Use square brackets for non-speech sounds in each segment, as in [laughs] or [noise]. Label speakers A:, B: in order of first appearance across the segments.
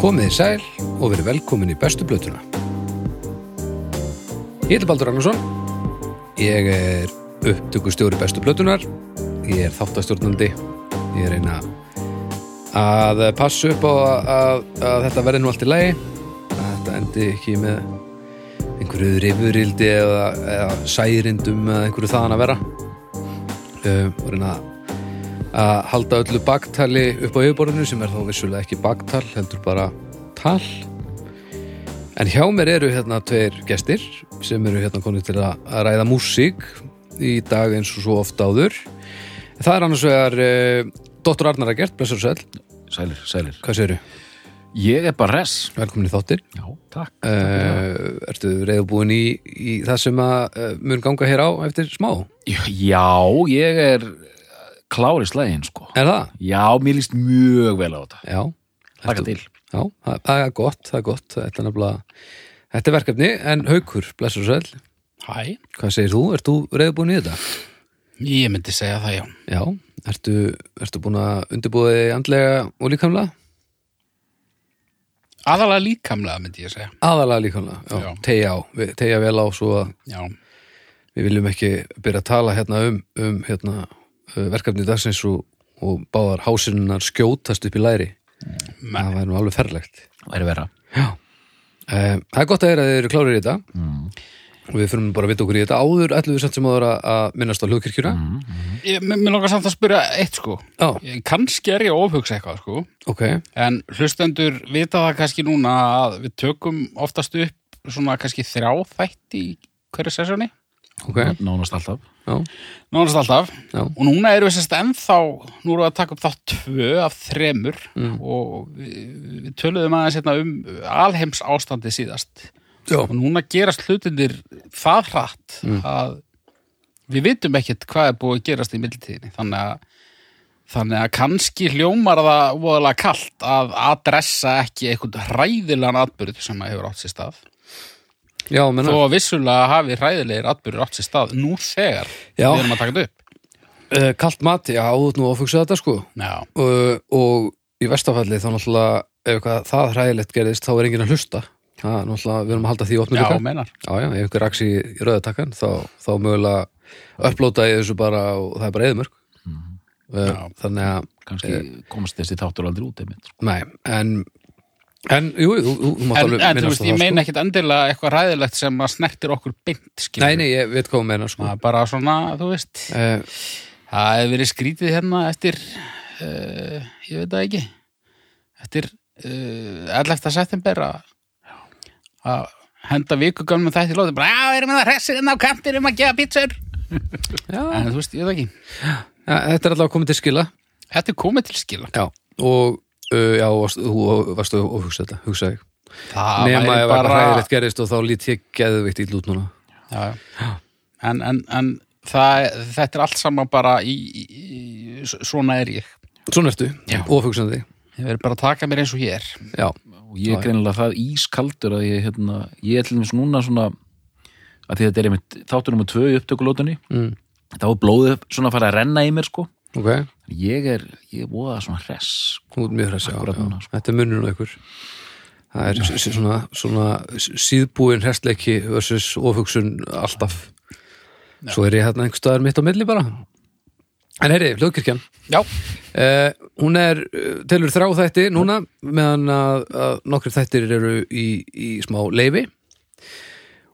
A: Komið í sæl og verið velkomin í bestu blötuna. Ég heiti Baldur Ragnarsson, ég er upptökustjóri bestu blötunar, ég er þáttastjórnandi, ég er eina að passa upp á að, að, að þetta verði nú allt í lagi, að þetta endi ekki með einhverju rifurildi eða, eða særindum eða einhverju þaðan að vera. Um, og reyna að að halda öllu baktali upp á yfirborðinu sem er þá vissulega ekki baktal heldur bara tal en hjá mér eru hérna tveir gestir sem eru hérna konið til að, að ræða músík í dag eins og svo ofta áður það er annars vegar uh, Dóttur Arnar að gert, blessur og sæl
B: Sælir, sælir.
A: hvað séru?
B: Ég er bara res. Eh,
A: Velkomin í þáttir
B: Já, takk.
A: uh, Ertu reyðbúin í, í það sem að uh, mun ganga hér á eftir smá?
B: Já, ég er klár í slæðin, sko.
A: Er það?
B: Já, mér líst mjög vel á þetta.
A: Já
B: Takk
A: Ertu-
B: til.
A: Já, það það er gott, það er gott Þetta er nefnilega, þetta er verkefni en haukur, blessur og sæl
C: Hæ,
A: Hvað segir þú? Ert þú reyðbúin í þetta?
C: ég myndi segja það já.
A: Já, ertu, ertu búin að undirbúa þig andlega og líkamlega?
C: Aðalega líkamlega myndi ég segja.
A: Aðalega líkamlega, já,
C: Já.
A: tegja á við- tegja vel á svo að
C: Já,
A: við viljum ekki byrja að tala hérna um, um hérna, uh, verkefni dagsins og, og báðar hásinnar skjótast upp í læri
C: Nei.
A: Það væri nú alveg ferlegt
B: Það er vera.
A: Um, Það er gott að heyra að þið eru klárir í þetta og við fyrir bara að vita okkur í þetta áður ætlum við samt sem áður að- að minnast á hljóðkirkjuna
C: ég, mér mér langar samt að spyrja eitt sko.
A: Já,
C: Ég- Kannski er ég að ofhugsa eitthvað sko,
A: ok,
C: en hlustendur vita það kannski núna að við tökum oftast upp svona kannski þrjá þætti í hverju sessjóni,
A: ok
B: Nánast alltaf.
A: Já,
C: nánast alltaf.
A: já,
C: Og núna erum við sérst ennþá, nú erum við að taka upp þátt tvö af þremur og við, við töluðum aðeins hérna um alheims ástandi síðast.
A: já.
C: og núna gerast hlutinir það hratt
A: Mm.
C: að við vitum ekkert hvað er búið að gerast í millitíðinni þannig að, þannig að kannski hljómar það voðalega kalt að adressa ekki einhvern hræðilegan atbyrð sem að hefur átt sér stað
A: já menna,
C: þó að vissulega hafi hræðilegir atbyrður átt sér stað nú þegar
A: Já.
C: við erum að taka þetta upp
A: uh, kalt mat, já, þú ert nú að fugsa þetta sko
C: Já,
A: uh, og í vestafalli þá náttúrulega ef eitthvað það hræðilegt gerðist þá er enginn að hlusta það er náttúrulega, við erum að halda því opnum
C: já
A: líka
C: meinar
A: Já, já, ef einhver raks í í rauðatakkan þá, þá mögulega upplóta ég þessu bara og það er bara eðumörk uh,
C: Mhm. Já.
A: Þannig að
B: Kannski
C: Eh.
B: komast þessi þáttur aldrei út einmitt. Sko.
A: Nei, en en, jú, jú, þú, þú mátt
C: En,
A: alveg
C: en þú
A: minnast
C: veist,
A: á
C: ég
A: það, sko.
C: meina ekkit endilega eitthvað ræðilegt sem að snertir okkur beint,
A: sko.
C: skilur
A: Nei, nei, ég veit hvað þú meina, sko
C: Maður bara svona, þú veist
A: uh,
C: Það hefur verið skrítið hérna eftir, uh, ég veit það ekki, eftir uh, 11. september að að henda vikugamnum þætti lóti, bara, já, við erum með það hressir inn á kantinum að gefa pítsur.
A: Já,
C: En þú veist, ég veit það ekki.
A: ja, þetta er allavega komið til skila
C: Þetta er komið til skila.
A: Já, og uh, já, varst, þú varst að hugsa þetta, hugsa ég
C: Það
A: Nema
C: væri
A: ef bara... hræðilegt gerist og þá lít ég geðveikt í lút núna
C: Já, já. En, en, en það, þetta er allt saman bara í, í, í, svona er ég.
A: Svona ertu,
C: Já.
A: ofugsandi
C: Ég verið bara að taka mér eins og ég er.
A: Já,
B: Og ég er greinilega það ískaldur að ég, hérna, ég er til þess núna svona, að því þetta er einmitt þáttur nummer tvö í upptökulótunni.
A: mm,
B: Þá er blóðið svona að fara að renna í mér, sko.
A: ok,
B: Ég er, ég er voða svona res.
A: þú ert mjög hressi já,
B: Akkurat
A: já.
B: núna, sko.
A: Þetta er munnurinn á ykkur Það er s- s- svona, svona s- síðbúin hrestleiki versus ofugsun alltaf Svo er ég hérna einhver staðar mitt á milli bara En heyri, hljóðkirkjan
C: Já,
A: Eh, hún er, eh, telur þrá þætti núna meðan að, að nokkri þættir eru í, í smá leifi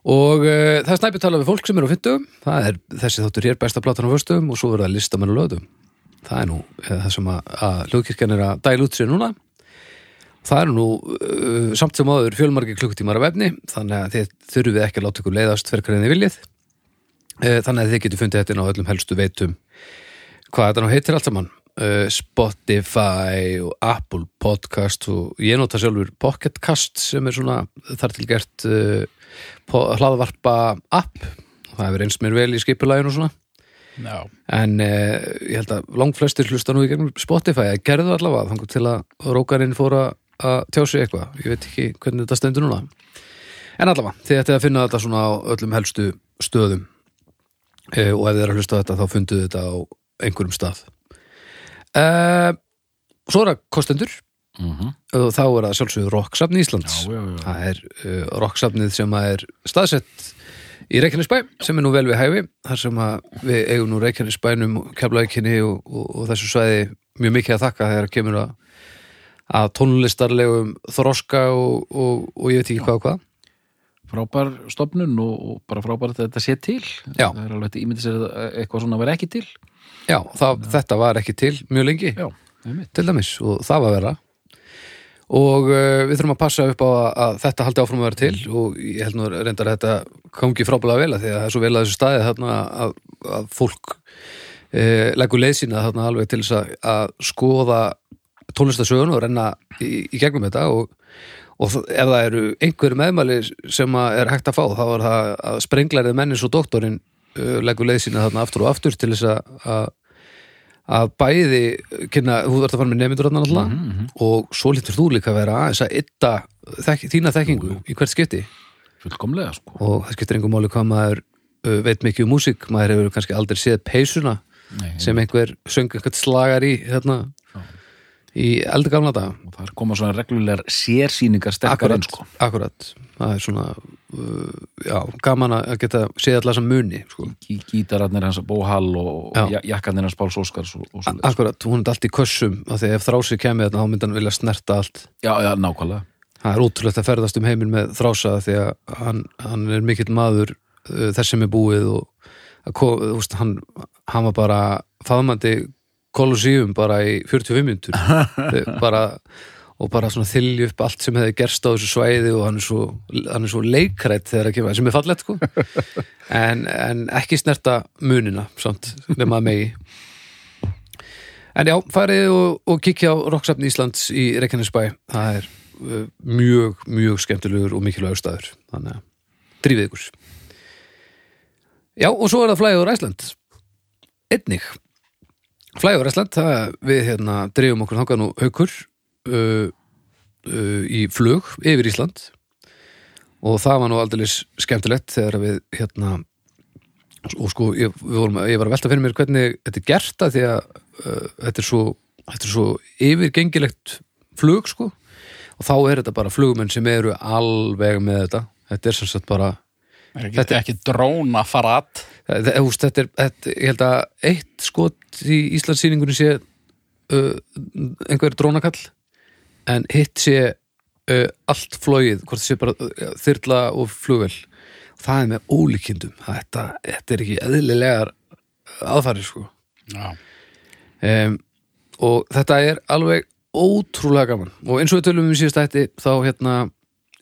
A: og eh, það er snæpi tala við fólk sem eru á fyndum það er þessi þáttur hér besta platan á föstum og svo verða listamenn á löðum það er nú eh, það sem að, að hljóðkirkjan er að dæla út sér núna það eru nú uh, samt sem áður fjölmargi klukkutímar af efni þannig að þið þurfið ekki að láta ykkur leiðast verkar en þið viljið Eh, þannig að þið getur fundið þetta inn á öllum helstu veitum hvað þetta nú heitir allt saman uh, Spotify og Apple Podcast og ég nota sjálfur Pocketcast sem er svona þar til gert uh, po- hlaðvarpa app og það hefur eins mér vel í skipulæginu og svona
C: já,
A: en uh, ég held að langflestir hlusta nú í gegnum Spotify að gerðu allavega þangur til að rókarinn fóra að tjá sig eitthvað, ég veit ekki hvernig þetta stendur núna en allavega, þið ættið að finna þetta svona á öllum helstu stöðum uh, og ef þið er að hlusta á þetta þá funduðu þetta á einhverjum stað uh, Svo er það kostendur og þá er það sjálfsögðu Rokksafn Íslands
B: Já, já, já.
A: það er uh, Rokksafnið sem að er staðsett í Reykjanesbæ sem er nú vel við hæfi þar sem að við eigum nú Reykjanesbænum keflaðikinni og, og, og þessu svæði mjög mikið að þakka þegar kemur að, að tónlistarlegum þroska og, og, og ég veit ekki hvað og hvað
B: frábær stopnun og, og bara frábær að þetta sé til
A: Já.
B: það er alveg hægt að ímynda sér að eitthvað svona var ekki til
A: Já, það, þetta var ekki til mjög lengi
B: já, einmitt
A: til dæmis og það var vera og uh, við þurfum að passa upp á að, að þetta haldi áfram að vera til
B: Mm.
A: og ég held nú reyndar að þetta gangi frábælega vel að því að það er svo vel að þessu staði þarna að, að fólk uh, leggur leið sína þarna alveg til þess að, að skoða tónlistasögun og renna í, í gegnum þetta og, og þ- ef það eru einhverju meðmæli sem að er hægt að fá þá er það að sprenglarið mennins og doktorinn uh, leggur leið sína þarna aftur og aftur til þess að, að að bæði kynna, þú ert að fara með nefndur þarna alltaf
B: Mhm,
A: og svo lítur þú líka að vera aðeins að ytta þek, þína þekkingu í hvert skipti
B: fullkomlega sko
A: og það skiptir engum máli hvað maður uh, veit mikið um músík, maður hefur kannski aldrei séð peysuna
B: Nei,
A: sem einhver söng eitthvað slagar í hérna, í eldgamla dag
B: og það koma svona reglulegar sérsýningar sterkar enn sko
A: akkurat, það er svona uh, já, gaman að geta séð allar sem muni sko.
B: Gí- gítararnir hans Bóhall og
A: Já.
B: ja- jakkarnir hans Páls Óskars og, og svona
A: akkurat, hún er allt í kössum af því að ef þrási kemur þarna, þá myndi hann vilja snerta allt
B: já, já, nákvæmlega
A: Það er ótrúlegt að ferðast um heiminn með þrása því að hann, hann er mikill maður uh, þess sem er búið og að ko- þú veist, hann, hann var bara faðmandi kolosíum bara í 45 minntur bara, og bara svona þylju upp allt sem hefði gerst á þessu svæði og hann er svo, hann er svo leikrætt þegar að kemur, sem er fallegt sko en, en ekki snerta munina samt, nema að megi En já, farið og, og kikki á Rokksafn Íslands í Reykjanesbæ. Það er uh, mjög, mjög skemmtilegur og mikilvægur staður. Þannig að drífið ykkur. Já, og svo er það flægur Æsland. Einnig. Flægur Æsland, það er- við hérna dreifum okkur þangað nú haukur uh, uh, í flug yfir Ísland og það var nú aldeilis skemmtilegt þegar við hérna og sko, ég, við vorum, ég var að velta fyrir mér hvernig þetta er gert að því að uh, þetta, er svo, þetta er svo yfirgengilegt flug sko og þá er þetta bara flugmenn sem eru alveg með þetta þetta er sem sagt bara
C: Er ekki, þetta er ekki dróna farat
A: þetta, úst, þetta er, þetta, ég held að eitt skot í Íslandsýningunni sé uh, einhver drónakall en hitt sé uh, allt flogið, hvort það sé bara uh, þyrla og flugvel það er með ólíkindum þetta, þetta er ekki eðlilegar aðfæri sko
C: Já,
A: um, og þetta er alveg ótrúlega gaman og eins og við tölum um í síðast ætti þá hérna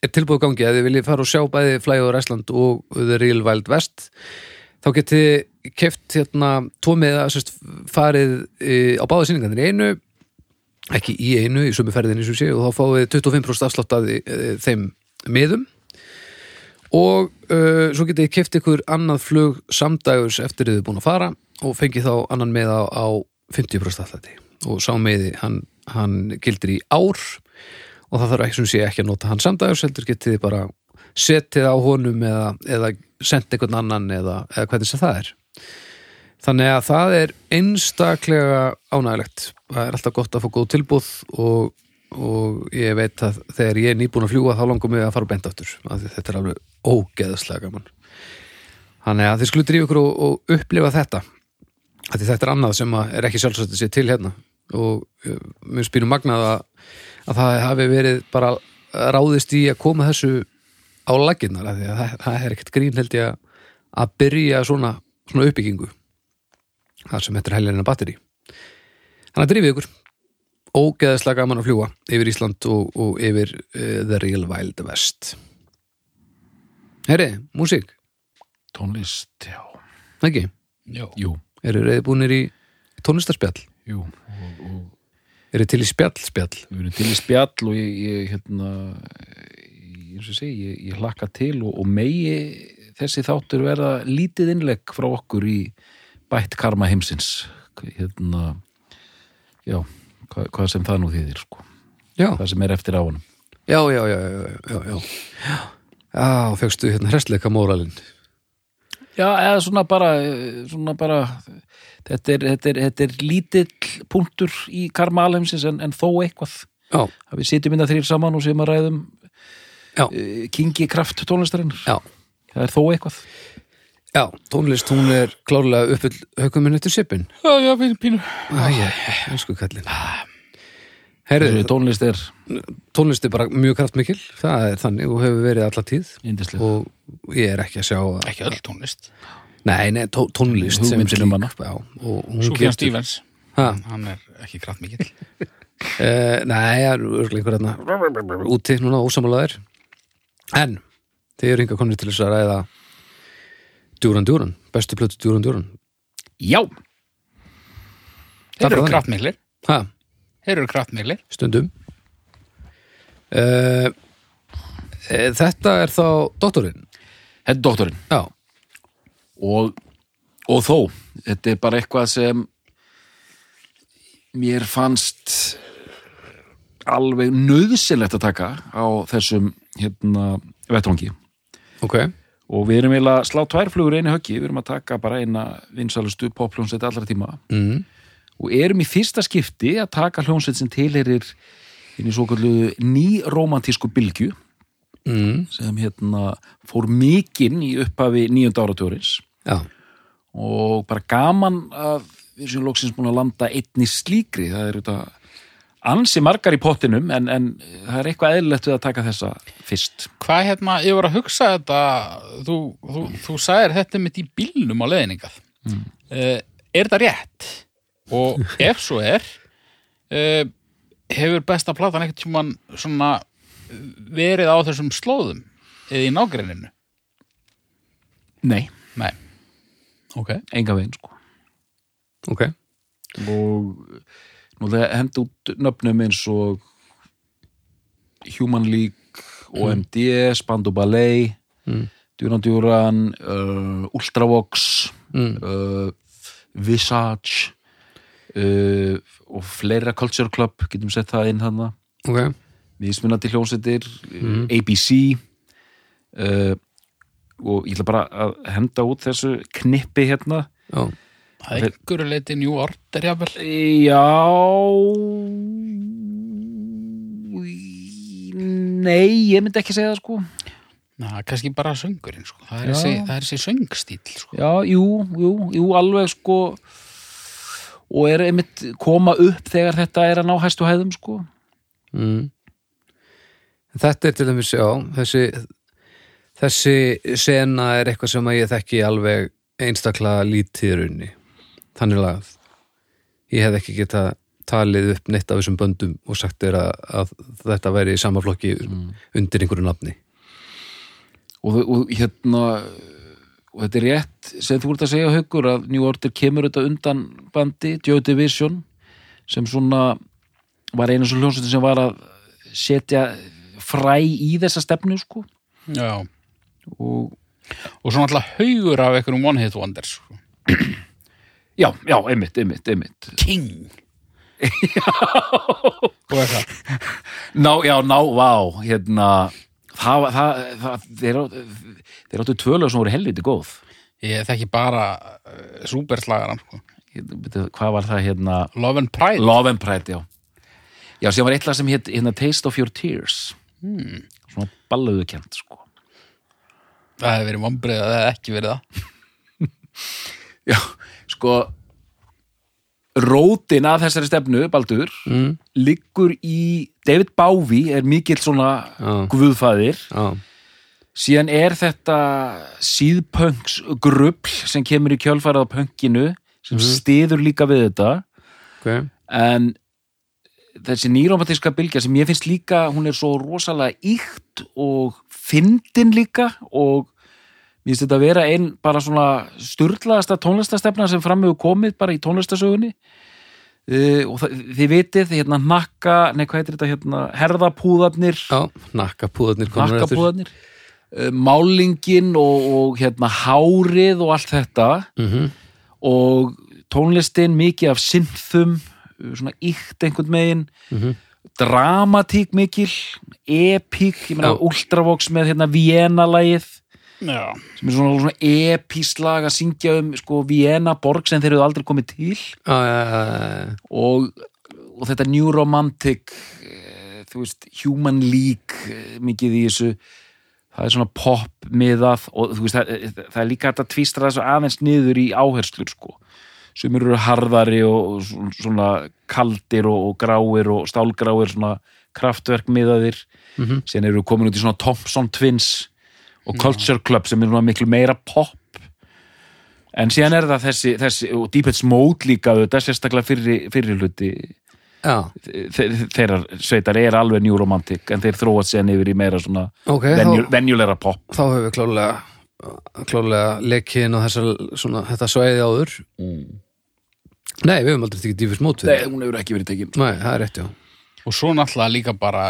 A: er tilbúið í gangi að þið viljið fara og sjá bæði Flægur Æsland og The Real Wild West þá getið þið keft hérna tómið að sérst, farið e, á báða sýningarnir í einu ekki í einu í sömu ferðinni sem sé og þá fáið þið 25% afslátt af e, þeim miðum og uh, svo getið þið keft ykkur annað flug samdægurs eftir þið er búin að fara og fengið þá annan með á, á 50% allæti og sá meði hann, hann gildir í ár og það þarf ekki sem sé ekki að nota hann samdægurs heldur getið þið bara setið á honum eða, eða sendt einhvern annan eða, eða hvernig sem það er þannig að það er einstaklega ánægilegt það er alltaf gott að fá góð tilbúð og, og ég veit að þegar ég er nýbúin að fljúga þá langum við að fara beint aftur af því þetta er alveg ógeðaslega gaman þannig að þið skulle drífa ykkur og, og upplifa þetta af því þetta er annað sem að er ekki sjálfsagt að sé til hérna og eh, mér spýnum magnað að, að það hafi verið bara ráðist í að koma þessu á laginnar af því að það, það er ekkert grín held ég að- að byrja svona, svona uppbyggingu þar sem þetta er helgarina batteri þannig að drifið ykkur ógeðaslega gaman að fljúa yfir Ísland og, og yfir uh, The Real Wild West Herri, músík,
B: tónlist, já,
A: ekki?
C: jú
B: jú,
A: Eru reyði búinir í tónlistarspjall?
B: jú og, og
A: Eru til í spjall-spjall?
B: við erum til í spjall og ég, ég hérna ég, eins og ég segi, ég, ég hlakka til og, og megi þessi þáttur verða lítið innlegg frá okkur í bætt karma heimsins hérna já, hva, hvað sem það nú þýðir sko,
A: Já,
B: það sem er eftir á honum
A: já, já, já, já, já, já, já. Já, fegstu hérna hressleika móralinn.
B: já, eða svona bara eh, svona bara þetta er, þetta er, þetta er lítill punktur í karma alheimsins en, en þó eitthvað
A: já,
B: að við sitjum innan þrýr saman og sem að ræðum
A: Já.
B: eh, kingi kraft tónlistarinn
A: já,
B: það er þó eitthvað
A: já tónlist hún er klárlega uppfyll höguminn eftir sipin
C: Já, já, pínu, pínu.
A: Æja, elsku kallinn Herðu,
B: Þeirri, tónlist er
A: tónlist er bara mjög kraftmikil það er þannig og hefur verið alla tíð
B: yndislega
A: og ég er ekki að sjá að
C: Ekki öll tónlist.
A: Nei, nei, tó, tónlist sem
B: Hugmyndin
A: slík,
B: um hana.
A: já, og hún
C: Súfjan
A: getur-
C: Stevens,
A: Ha,
C: hann er ekki kraft mikill.
A: Uh, nei, það eru örglega einhver hérna úti núna ósamálaðir En, þið eru hinga konir til þess að ræða Djúran Djúran, bestu plötu Djúran Djúran
C: [laughs] Já.
A: Það er
C: Þeir eru
A: þannig.
C: kraft miklir.
A: Ha,
C: Þeir eru kraft miklir.
A: stundum uh, uh, Þetta er þá dottorinn
B: þetta er doktorinn
A: Já,
B: og, og þó þetta er bara eitthvað sem mér fannst alveg nöðsynlegt að taka á þessum hérna vettvangi
A: ok
B: og við erum eiginlega að slá tvær flugur í einu höggi við erum að taka bara eina vinsalustu popljónsveit allra tíma
A: mm,
B: og erum í fyrsta skipti að taka hljónsveit sem tilherir inn í svo kallu nýromantísku bylgju
A: mm,
B: sem hérna fór mikinn í upphafi nýjönda áratjórins
A: Já,
B: og bara gaman að við sem loksins búin að landa einni slíkri, það er þetta ansi margar í pottinum en, en það er eitthvað eðlilegt við að taka þessa fyrst.
C: Hvað hérna, ég var að hugsa þetta, þú, þú, þú sagðir þetta mitt í bílnum á leðningað. Mm. er þetta rétt? [laughs] Og ef svo er, uh, hefur besta platan ekkert tjúman svona eh, verið á þessum slóðum eða í nágrenninu?
B: Nei,
C: Nei. Ok.
B: enga veginn sko
A: ok
B: og nú það hendi út nöfnum eins og Human League OMD, Spandau Ballet
A: Mm.
B: Duran Duran uh, Ultravox
A: mm,
B: uh, Visage uh, og fleira Culture Club, getum sett það inn hana
A: Ok,
B: viðsmunandi hljónsettir mm. ABC uh, og ég ætla bara að henda út þessu knippi hérna
A: já,
C: Það er ykkur leiti New Order, jáfnvel.
B: Já Nei, ég myndi ekki segja það sko
C: Na, kannski bara söngurinn, sko. Það er þessi- það er þessi söngstíl, sko.
B: Já, jú, jú, jú, alveg sko og er einmitt koma upp þegar þetta er að ná hæstu hæðum sko
A: mm. Þetta er til dæmis, já, þessi þessi sena er eitthvað sem að ég þekki alveg einstaklega lítið í rauninni þannig lagað ég hef ekki geta talið upp neitt af þessum böndum og sagt þér að, að þetta væri í sama flokki undir einhverju nafni
B: og, og hérna og þetta er rétt sem þú ert að segja haukur að New Order kemur þetta undan bandi, Joe Division sem svona var einu svo hljónsutin sem var að setja fræ í þessa stefnu sko
C: Já.
B: og
C: Og svona alltaf haugur af einhverjum One Hit Wonders, sko.
B: Já, já, einmitt, einmitt, einmitt.
C: King. Já. Og eitthvað.
B: Ná, já, ná, vá, hérna, það, var- það, það, þeir, á- þeir áttu tvölu sem voru helviti góð.
C: Ég þekki bara uh, súperslagaran, sko.
B: Hérna, byrju, Hvað var það, hérna,
C: Love and Pride.
B: Love and Pride, já. Já, sem var eitthvað sem hétt, hérna, Taste of Your Tears. Hmm. Svona balluðukent, sko.
C: það hefði verið vombrið að það hefði ekki verið það.
B: Já, sko, rótin að þessari stefnu, Baldur,
A: mm.
B: liggur í, David Bávi er mikill svona
A: Já.
B: guðfæðir.
A: Já,
B: síðan er þetta síðpöngs grubl sem kemur í kjölfarað á pönginu sem mm stiður líka við þetta
A: ok
B: en þessi nýrómatíska bylgja sem ég finnst líka hún er svo rosalega íkt og fyndin líka og mér finnst þetta að vera einn bara svona sturlaðasta tónlistastefna sem fram hefur komið bara í tónlistasögunni uh, og það, þið vitið hérna nakka, nei hvað heitir þetta hérna herðapúðarnir
A: Já, nakkapúðarnir komnar eftir
B: nakkapúðanir málingin Eh, og, og hérna hárið og allt þetta
A: Mhm.
B: og tónlistin mikið af synthum uh, svona ykt einhvern megin
A: Mhm.
B: dramatík mikil epík, ég meina
A: Já.
B: Ultravox með hérna Vienna-lægið
C: Já.
B: sem er svona, svona epíslag að syngja um sko Vienna borg sem þeir eru aldrei komið til
A: Já, já, já, já, já.
B: og, og þetta New Romantic eh, þú veist, human league eh, mikið í þessu það er svona pop miðað og þú veist, það, það er líka hægt að tvístra þessu aðeins niður í áherslur sko sem eru harðari og sv- svona kaldir og, og gráir og stálgráir svona kraftverk miðaðir mm -hmm. síðan eru komin út í svona Thompson Twins og Culture Club sem er svona miklu meira pop en síðan er það þessi, þessi og Deepest Mode líka þetta sérstaklega fyrir, fyrir hluti
A: já,
B: þe- þeirra sveitar er alveg njúromantik en þeir þróa sér yfir í meira svona
A: Ok,
B: venju,
A: þá-
B: venjulegra pop
A: þá höfum við klálega klálega leikinn og þessar, svona, þetta svæði áður Nei, við höfum aldrei tekið dýfis mót við
B: Mm. Nei, hún hefur ekki verið tekin
A: Nei, það er rétt, já
C: Og svo náttúrulega líka bara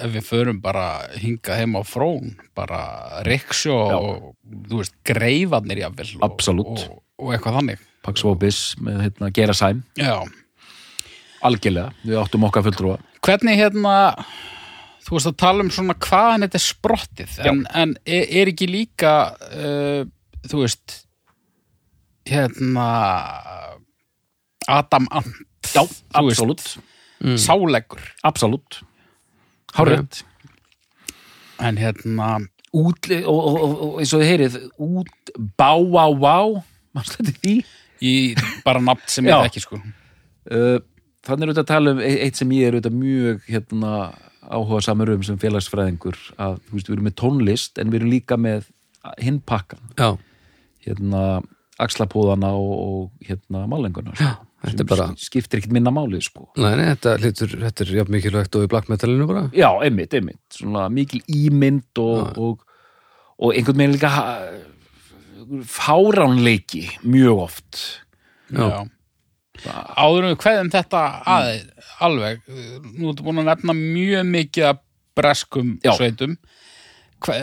C: ef við förum bara hingað heim á frón bara riksjó og þú veist, greifarnir jafnvel og-
B: Absolutt.
C: og, og eitthvað þannig
B: Pax Vobis með hérna, Gera Sæm
C: Já,
B: algjörlega, við áttum okkar fulltrúa
C: hvernig hérna þú veist að tala um svona hvaðan þetta er sprottið en, en er, er ekki líka uh, þú veist hérna Adam Ant Já,
B: absolutt, Mm.
C: Sáleggur
B: absolutt Hárið
C: en hérna
B: út, og, og, og, og eins og þið heyrið út, bá, á, á mannstu þetta því?
C: í bara nafn sem
B: Já.
C: ég ekki sko
B: Uh, þannig er auðvitað að tala um e- eitt sem ég er auðvitað mjög hérna, áhuga samur um sem félagsfræðingur að þú veist, við erum með tónlist en við erum líka með hinn pakkan
A: Já,
B: hérna axlapóðana og, og hérna málenguna sko.
A: þetta
B: Sem
A: er bara-
B: skiptir ekkert minna máli sko.
A: nei, nei, þetta, hlutur, þetta er jafn mikilvægt og í black metalinu bara
B: já, einmitt, einmitt, svona mikil ímynd og, og, og einhvern veginn líka ha- fáránleiki mjög oft
A: Já.
C: Já. Áður en við kveðum þetta
B: Mm.
C: aðeins, alveg, uh, nú ertu búin að nefna mjög mikið af breskum
B: Já.
C: sveitum. Hva,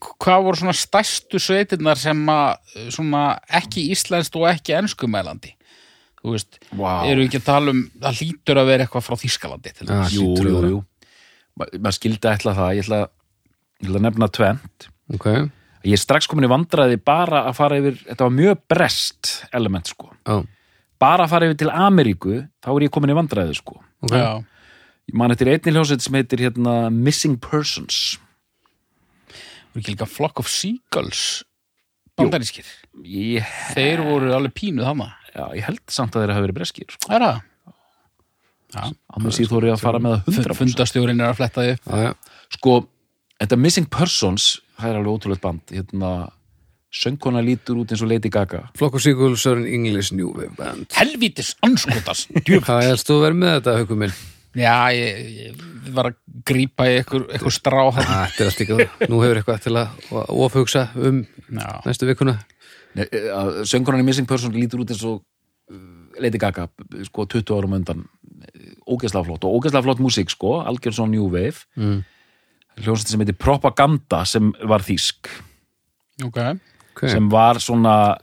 C: hvað voru svona stærstu sveitirnar sem að, uh, svona ekki íslenskt og ekki enskumælandi? Þú veist,
B: Vá. Ah,
C: eru ekki að tala um, það hlýtur að vera eitthvað frá Þýskalandi til
A: Já.
C: þess.
B: jú,
A: Ah, hlýtur að
B: jú,
A: vera.
B: jú Ma- maður skildi ætla það, ég ætla, ég ætla að nefna tvent
A: Ok, já,
B: ég er strax komin í vandræði bara að fara yfir þetta var mjög brest element sko bara að fara yfir til Ameríku þá er ég komin í vandræði sko
A: ok
C: Já.
B: ég man eftir einni hljóset sem heitir hérna Missing Persons
C: Voru ekki líka Flock of Seagulls bandarískir.
B: ég,
C: Þeir voru alveg pínuð hana.
B: já, ég held samt að þeir hafa verið breskir sko.
C: Það er það. Já,
B: annars ég þóri að fara með það 100%
C: fundastjórin er að fletta því upp.
A: Já, já,
B: sko, þetta Missing Persons það er alveg ótrúlega band hérna, söngkona lítur út eins og Lady Gaga
A: Flokk og Sigurl Sören English New Wave Band
C: Helvítis anskotas.
A: Hvað helst þú að vera með þetta, haukum minn?
C: [laughs] Já, ég, ég var að grípa í einhver, einhver strá
A: Æ,
C: hérna. þarna.
A: Þetta er allt ekki það. Nú hefur eitthvað til að ofhugsa um
C: Já,
A: næstu vikuna
B: Nei, eh, að söngkonan í Missing Persons lítur út eins og eh, Lady Gaga b- sko 20 árum undan Eh, ógeðslega flott og ógeðslega flott músík sko algjör svo New Wave mm. hljóset sem heitir Propaganda sem var þýsk
C: ok.
A: okay.
B: sem var svona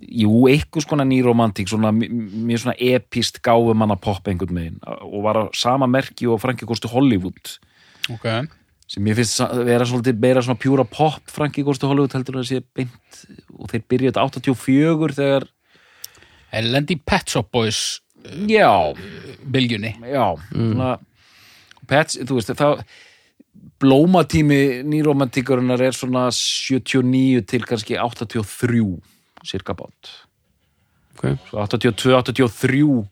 B: jú, eitthvað skona nýromantík svona, m- m- mjög svona epist gáfum hann að poppa einhvern veginn og var á sama merki og Franki Kostu Hollywood
C: Ok,
B: sem ég finnst sa- vera svolítið meira svona pjúra pop Franki Kostu Hollywood heldur en að sé beint og þeir byrjuðu þetta 84 þegar,
C: Lendi Pet Shop Boys
B: já
C: bylgjunni.
B: já, svona pets, þú veist, það blómatími nýromantíkurinnar er svona 79 til kannski 83 cirka bát
A: okay.
B: Svo 82, 83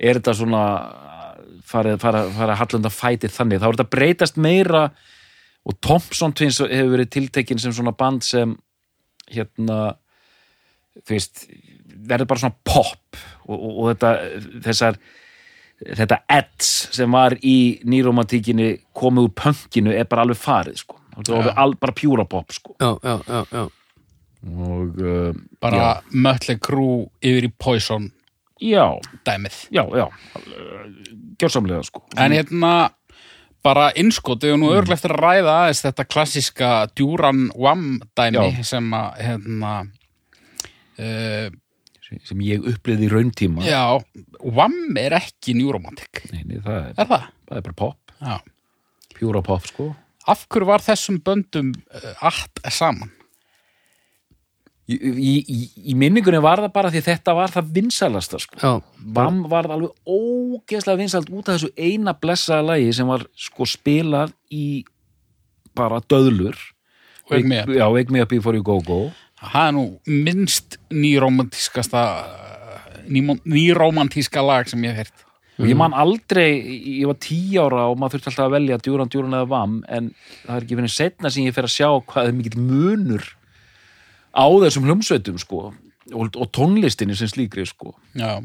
B: er þetta svona farið, farið, farið að hallunda fætið þannig, þá er þetta breytast meira og Thompson Twins hefur verið tiltekin sem svona band sem hérna þú veist, verður bara svona pop og, og, og þetta þessar þetta ads sem var í nýromantíkinni komið úr pönkinu er bara alveg farið sko, þetta er alveg al, bara pjúra pop sko
A: Já, já, já, já
B: og uh, já,
C: Bara mötleg krú yfir í Poison
B: já,
C: dæmið.
B: já, já gjörsamlega sko
C: En hérna, bara innskotið og nú örglega eftir að ræða aðeins þetta klassiska Duran Wham dæmi
B: Já.
C: sem að, hérna, uh,
B: sem ég upplýði í rauntíma
C: já, Wham er ekki njúromantik.
B: nei, nei, það, er,
C: Er það?
B: það er bara pop,
C: Já.
B: pjúra pop sko
C: eh, Af hverju var þessum böndum uh, allt saman?
B: í, í, í minningunni var það bara því þetta var það vinsalasta sko.
A: já,
B: Vam varð alveg ógeðslega vinsalt út af þessu eina blessaða lagi sem var sko spilað í bara döðlur
C: Og Wake Me Up.
B: Já, Wake Me Up Before You Go Go
C: Það er nú minnst nýromantískasta nýmon- nýrómantíska lag sem ég hef hert
B: og ég man aldrei, ég var tí ára og maður þurfti alltaf að velja djúran, djúran eða vam en það er ekki finnir setna sem ég fer að sjá hvað er mikill munur á þessum hljómsveitum sko og, og tónlistinni sem slíkri sko
C: Já,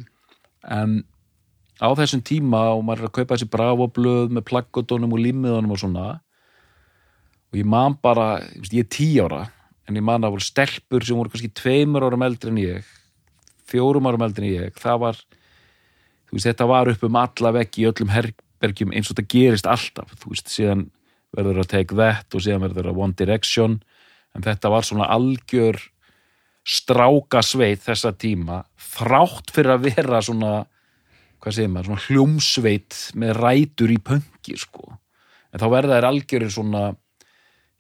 B: en á þessum tíma og maður er að kaupa þessi bravoblöð með plaggotunum og límiðunum og svona og ég man bara ég veist, ég er tí ára en ég man að það voru stelpur sem voru kannski tveimur árum eldri en ég fjórum árum eldri en ég það var, þú veist, þetta var upp um alla veggi í öllum herbergjum eins og þetta gerist alltaf, þú veist, síðan verður að take that og síðan verður að one direction en þetta var svona algjör strákasveit þessa tíma þrátt fyrir að vera svona hvað segir maður, svona hljómsveit með rætur í pönki sko en þá verða þær algjörir svona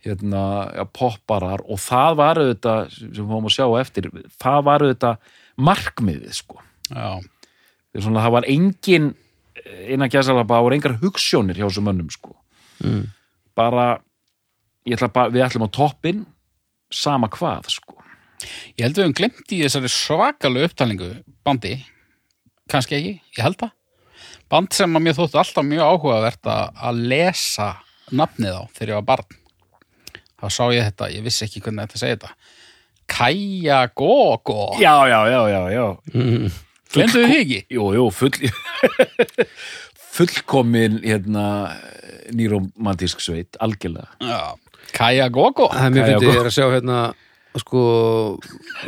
B: hérna, ja, popparar og það var auðvitað, sem við fáum að sjá á eftir það var auðvitað markmiðið sko
C: já,
B: Þeir svona, það var engin innan gæsalapa, það voru engar hugssjónir hjá þessum mönnum sko
A: Mm.
B: bara, ég ætla bara við ætlum á toppin, sama hvað sko
C: ég held við höfum glemt í þessari svakalu upptalningu bandi, kannski ekki, ég held það band sem að mér þótti alltaf mjög áhugavert að að lesa nafnið á þegar ég var barn þá sá ég þetta, ég vissi ekki hvernig þetta segja þetta Kaja Gogo
B: Já, já, já, já, já
C: glemdu þið ekki?
B: Jú, jú, full [laughs] fullkomin hérna nýromantísk sveit, algjörlega
C: Já, Kaja Gogo
A: það er mjög
B: Jæja,
A: fyndið
B: gott.
A: ég er að sjá hérna sko,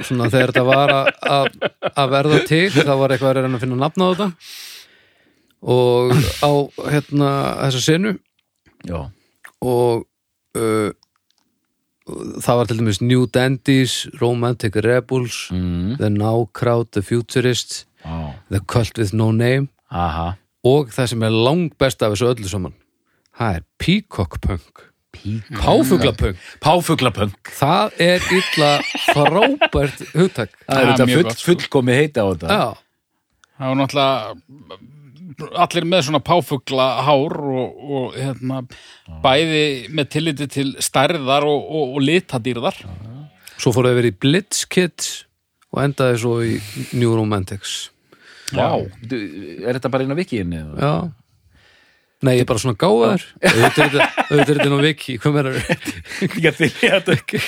A: svona þegar þetta var að- að að verða til þá var eitthvað að reyna að finna nafn á þetta og á hérna þessa senu
B: Já,
A: og uh, það var til dæmis New Dandies, Romantic Rebels
B: mm.
A: The Now Crowd, The Futurists
B: Á.
A: The Cult With No Name
B: aha
A: og það sem er langbest af þessu öllu saman það er Peacock Punk
B: Pík
A: Páfugla Punk
B: Páfuglapöng
A: Það er illa frábært hugtak
B: Það er
C: Ah,
B: þetta
C: mjög
B: full,
C: gott, sko.
B: fullkomi heita á þetta
A: Já,
C: það var náttúrulega allir með svona páfugla hár og, og hérna bæði með tilliti til stærðar og, og, og litadýrðar
A: svo fór það verið í Blitzkids og endaði svo í New Romantics
B: Vá, du- er þetta bara inn á vikiðinni?
A: Já Nei, ég er bara svona gáðar Auðvitað er þetta- auðvitað er þetta nú viki Hvað meður
B: [laughs] Ég til ég þetta ekki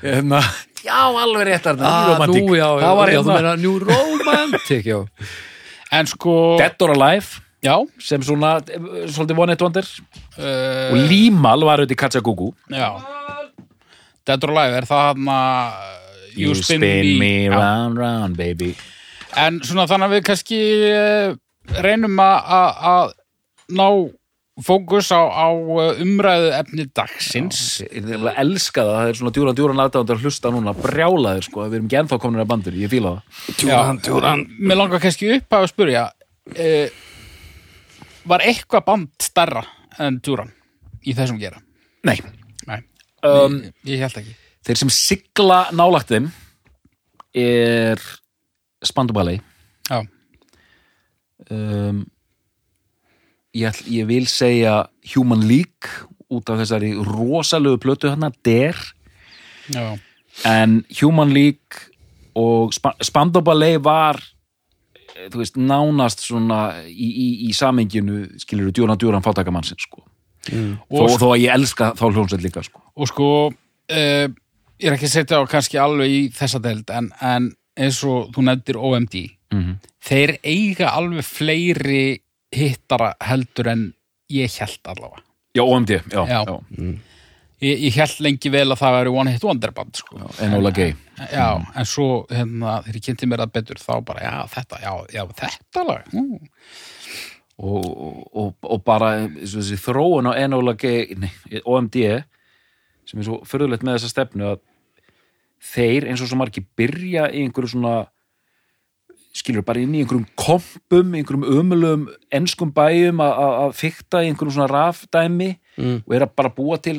B: Hérna Já, alveg rétt þarna, nýromantík
A: Nú, já, já,
B: Það var
A: já, þú
B: hérna
A: meira New Romantic, já
C: en sko
B: Dead or Alive
C: já,
B: sem svona, eh, svolítið one hit wonder
C: uh,
B: og Límal var auðvitað í Katsagugu
C: já Dead or Alive er það hann að
B: You spin, me round, round, baby
C: en svona þannig að við kannski eh, reynum að- að að ná fókus á, á umræðu efni dagsins
B: Ég nefnilega elska það, það er svona djúran djúran aðdáðan að hlusta núna, brjálaðir sko við erum ekki ennþá komin að bandur, ég fíla það
C: Djúran, djúran Mér langar kannski upp að spyrja uh, Var eitthvað band stærra en djúran í þessum gera?
B: Nei,
C: Nei,
B: um,
C: ég, ég held ekki
B: þeir sem sigla nálagt þeim er Spandubali
C: Já,
B: um, ég, ætl, ég vil segja Human League út af þessari rosalegu plötu hana, Der
C: já,
B: en Human League og Spa- Spandau Ballet var eh, þú veist, nánast svona í, í, í samenginu skilur þú djúran djúran fátakamannsinn sko. og þó,
C: Og-
B: þó að ég elska þá hljómsveit líka sko.
C: og sko uh, Ég er ekki að setja á kannski alveg í þessa deild en, en eins og þú nefndir OMD
B: Mhm.
C: Þeir eiga alveg fleiri hittara heldur en ég held allavega
B: já, OMD, já, já.
C: Já. Ég, ég held lengi vel að það væri One Hit Wonder band sko.
B: en Óla Gay
C: Já,
B: Mm.
C: en svo hérna, þegar ég kynnti mér það betur þá bara, já, þetta, já, já, þetta lag. Ú.
B: og, og, og bara eins og þessi þróun á Enola G nei, OMD sem er svo förðulegt með þessa stefnu að þeir eins og svo margir byrja í einhverju svona skilur bara inn í einhverjum kompum einhverjum ömulegum enskum bæjum að- að að fykta í einhverjum svona rafdæmi
A: Mm.
B: og er að bara búa til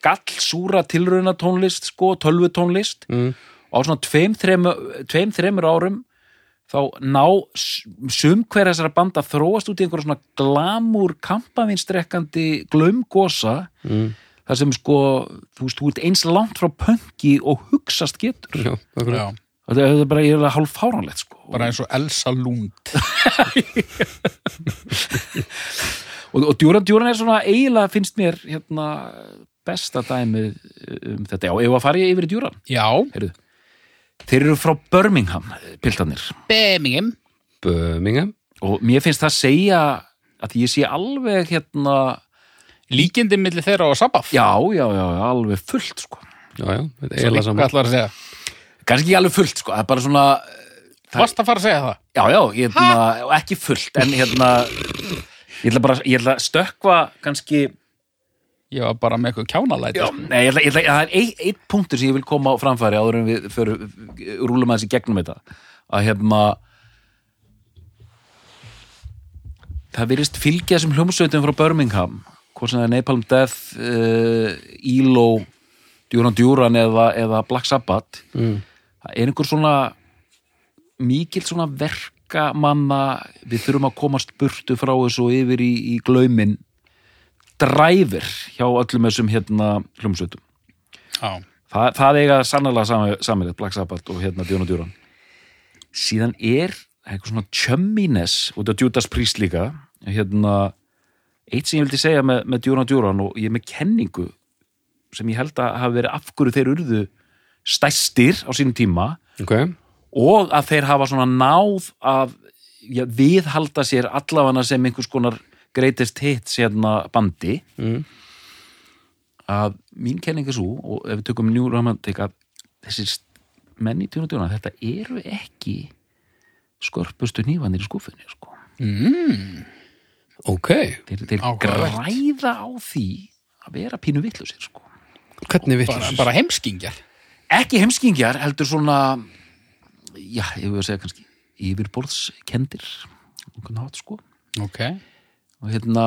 B: gallsúra tilraunatónlist sko, tölvutónlist
A: mm.
B: og á svona tveim, þreim, tveim þreimur árum þá ná s- sum hver þessara banda þróast út í einhverja svona glamúr kampavinstrekkandi glömgosa
A: Mm.
B: þar sem sko, þú veist, þú ert eins langt frá pönki og hugsast getur
A: Já, akkurat.
C: Já,
B: og þetta er bara, ég er alveg hálf fáranlegt sko.
C: bara eins og Elsa Lund
B: [laughs] og, og Djúran Djúran er svona eiginlega finnst mér hérna besta dæmið um þetta, já, ef að fara ég yfir í Djúran
C: Já,
B: heyrðu, þeir eru frá Birmingham piltanir
C: Birmingham
A: Birmingham.
B: og mér finnst það segja að ég sé alveg hérna
C: Líkindi milli þeirra og Sabaf
B: já, já, já, alveg fullt sko
A: Já, já, þetta er
C: Svo
A: eiginlega
C: líka,
A: saman.
C: Hvað ætlar að segja?
B: kannski ekki alveg fullt sko, það er bara svona
C: Varst að fara að segja það?
B: já, já, hérna, og ekki fullt en hérna, ég ætla bara ég ætla að stökkva kannski
C: Ég var bara með eitthvað kjánalæti
B: Já, nei, ég ætla, ég ætla, það er ein- einn punktur sem ég vil koma á framfæri áður en við fyrir, rúlum aðeins í gegnum þetta að hérna, hefna það virðist fylgja sem hljómsveitum frá Birmingham hvort sem það er Napalm Death uh, ELO, Duran Duran eða, eða Black Sabbath mm. það er einhver svona mikill svona verka manna, við þurfum að komast burtu frá þessu og yfir í, í glaumin dræfir hjá öllum þessum hérna hljómsveitum
C: Já.
B: Þa, það eiga sannlega samilegt Black Sabbath og hérna Djón og Djúran síðan er það er eitthvað svona tjömmines út af Judas Priest líka hérna eitt sem ég vildi segja með, með Djúran og Djúran og ég er með kenningu sem ég held að hafa verið af hverju þeir urðu stæstir á sínum tíma
A: Ok,
B: og að þeir hafa svona náð að já, viðhalda sér allafana sem einhvers konar greatest hits hérna bandi
A: Mm.
B: að mín kenning er svo og ef við tökum New Romantic að þessir st- menn í tjóna tjóna þetta eru ekki skörpustu nývanir í skúfunni sko.
A: ok.
B: þeir, þeir
C: Áhugavert.
B: græða á því að vera pínu vitlusir sko.
A: Hvernig vitt
C: Bara, bara heimskingjar
B: ekki heimskingjar heldur svona já, ég vil segja kannski yfirborðskendir okkur nátt sko
C: Ok
B: og hérna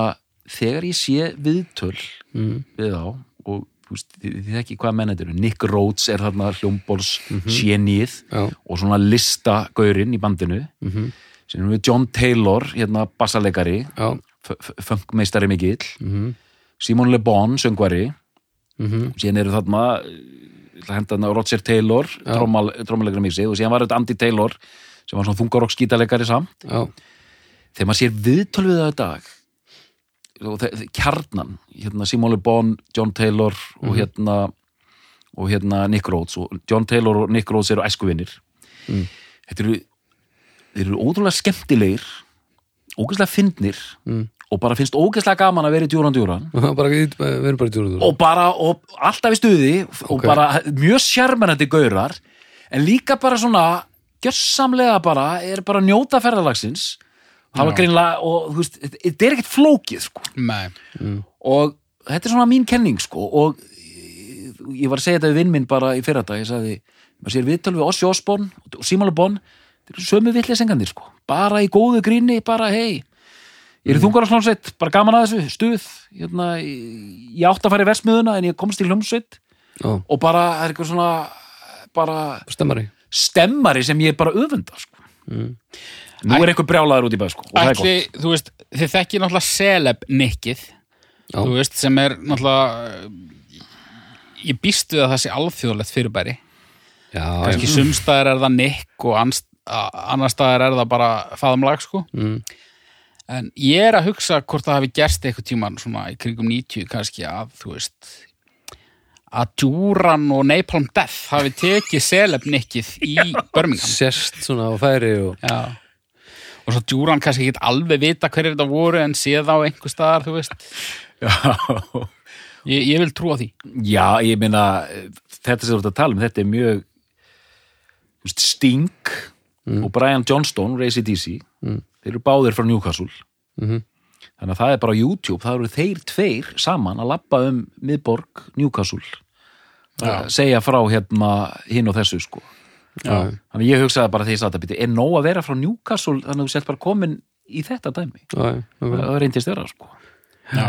B: þegar ég sé viðtöl við á og þú veist, þið þið ekki hvað menn þetta eru Nick Rhodes er þarna hljómborðs mm
A: Já.
B: og svona listagaurinn í bandinu mm -hmm. sem erum við John Taylor hérna bassalegari
A: Já,
B: f- f- funkmeistari mikill Simon Le Bon, söngvari og síðan eru þarna ég ætla að henda hana Roger Taylor trómalegri mixið og síðan var þetta Andy Taylor sem var svona þungarokskítalegari samt
A: já, [laughs]
B: þegar maður sér viðtöl við það í dag og þe- þe- kjarnan hérna Simon Le Bon, John Taylor og hérna og hérna Nick Rhodes og John Taylor og Nick Rhodes eru æskuvinir þetta eru þeir eru ótrúlega skemmtilegir ógeðslega fyndnir mm. og bara finnst ógeðslega gaman að vera í djúran djúran
A: bara, við við erum bara í djúrundur.
B: og bara, og alltaf í stuði og
A: Ok.
B: bara mjög sjarmanandi gaurar en líka bara svona gjörsamlega bara, er bara að njóta ferðalagsins það var greinlega og þú veist, þetta þetta er ekkert flókið sko.
C: Nei
B: og þetta er svona mín kenning sko, og ég- ég var að segja þetta við vinn minn bara í fyrra dag, ég sagði maður sér viðtölu við Ossi Osborn og Simon Le Bon þeir eru sömu villið sengandir sko bara í góðu gríni, bara hei ég er í þungar á slónsveit, bara gaman að þessu stuð, hérna ég ég átti að fara í versmiðuna en ég komst í hljómsveit
A: Já,
B: og bara það er eitthvað svona bara
A: stemmari.
B: stemmari sem ég bara öfunda sko. nú er eitthvað brjálaður út í bæð sko, og það er
C: Ætli, þú veist, þið þekkir náttúrulega Celeb nikkið
A: Já.
C: Þú veist, sem er náttúrulega eh, Ég býst við að það sé alþjóðlegt fyrirbæri
A: Já,
C: Kannski sumstaðar er það nikk og ans- a- annar staðar er það bara faðumlag sko
A: Mm.
C: En ég er að hugsa hvort það hafi gerst eitthvað tíman svona í kringum 90 kannski að, þú veist að Duran og Napalm Death hafi tekið Celeb nikkið í Birmingham
A: sérst svona á færi og...
C: Já. Og svo Djúran kannski ekki alveg vita hverju þetta voru en séð á einhver staðar, þú veist.
B: gott Já.
C: Ég, ég vil trúa því.
B: Já, ég meina eh, þetta sem þú ert að tala um, þetta er mjög þú veist, Sting
A: Mm.
B: og Brian Johnston, Racy DC þeir eru báðir frá Newcastle
A: Mhm.
B: þannig að það er bara á YouTube það eru þeir tveir saman að labba um miðborg Newcastle að segja frá hérna hinn og þessu sko
A: Já.
B: þannig að ég hugsaði bara því að þetta býti er nóg að vera frá Newcastle þannig að þú sett bara komin í þetta dæmi
A: Mm. Já, já, já.
B: það reyndist vera sko
C: Já.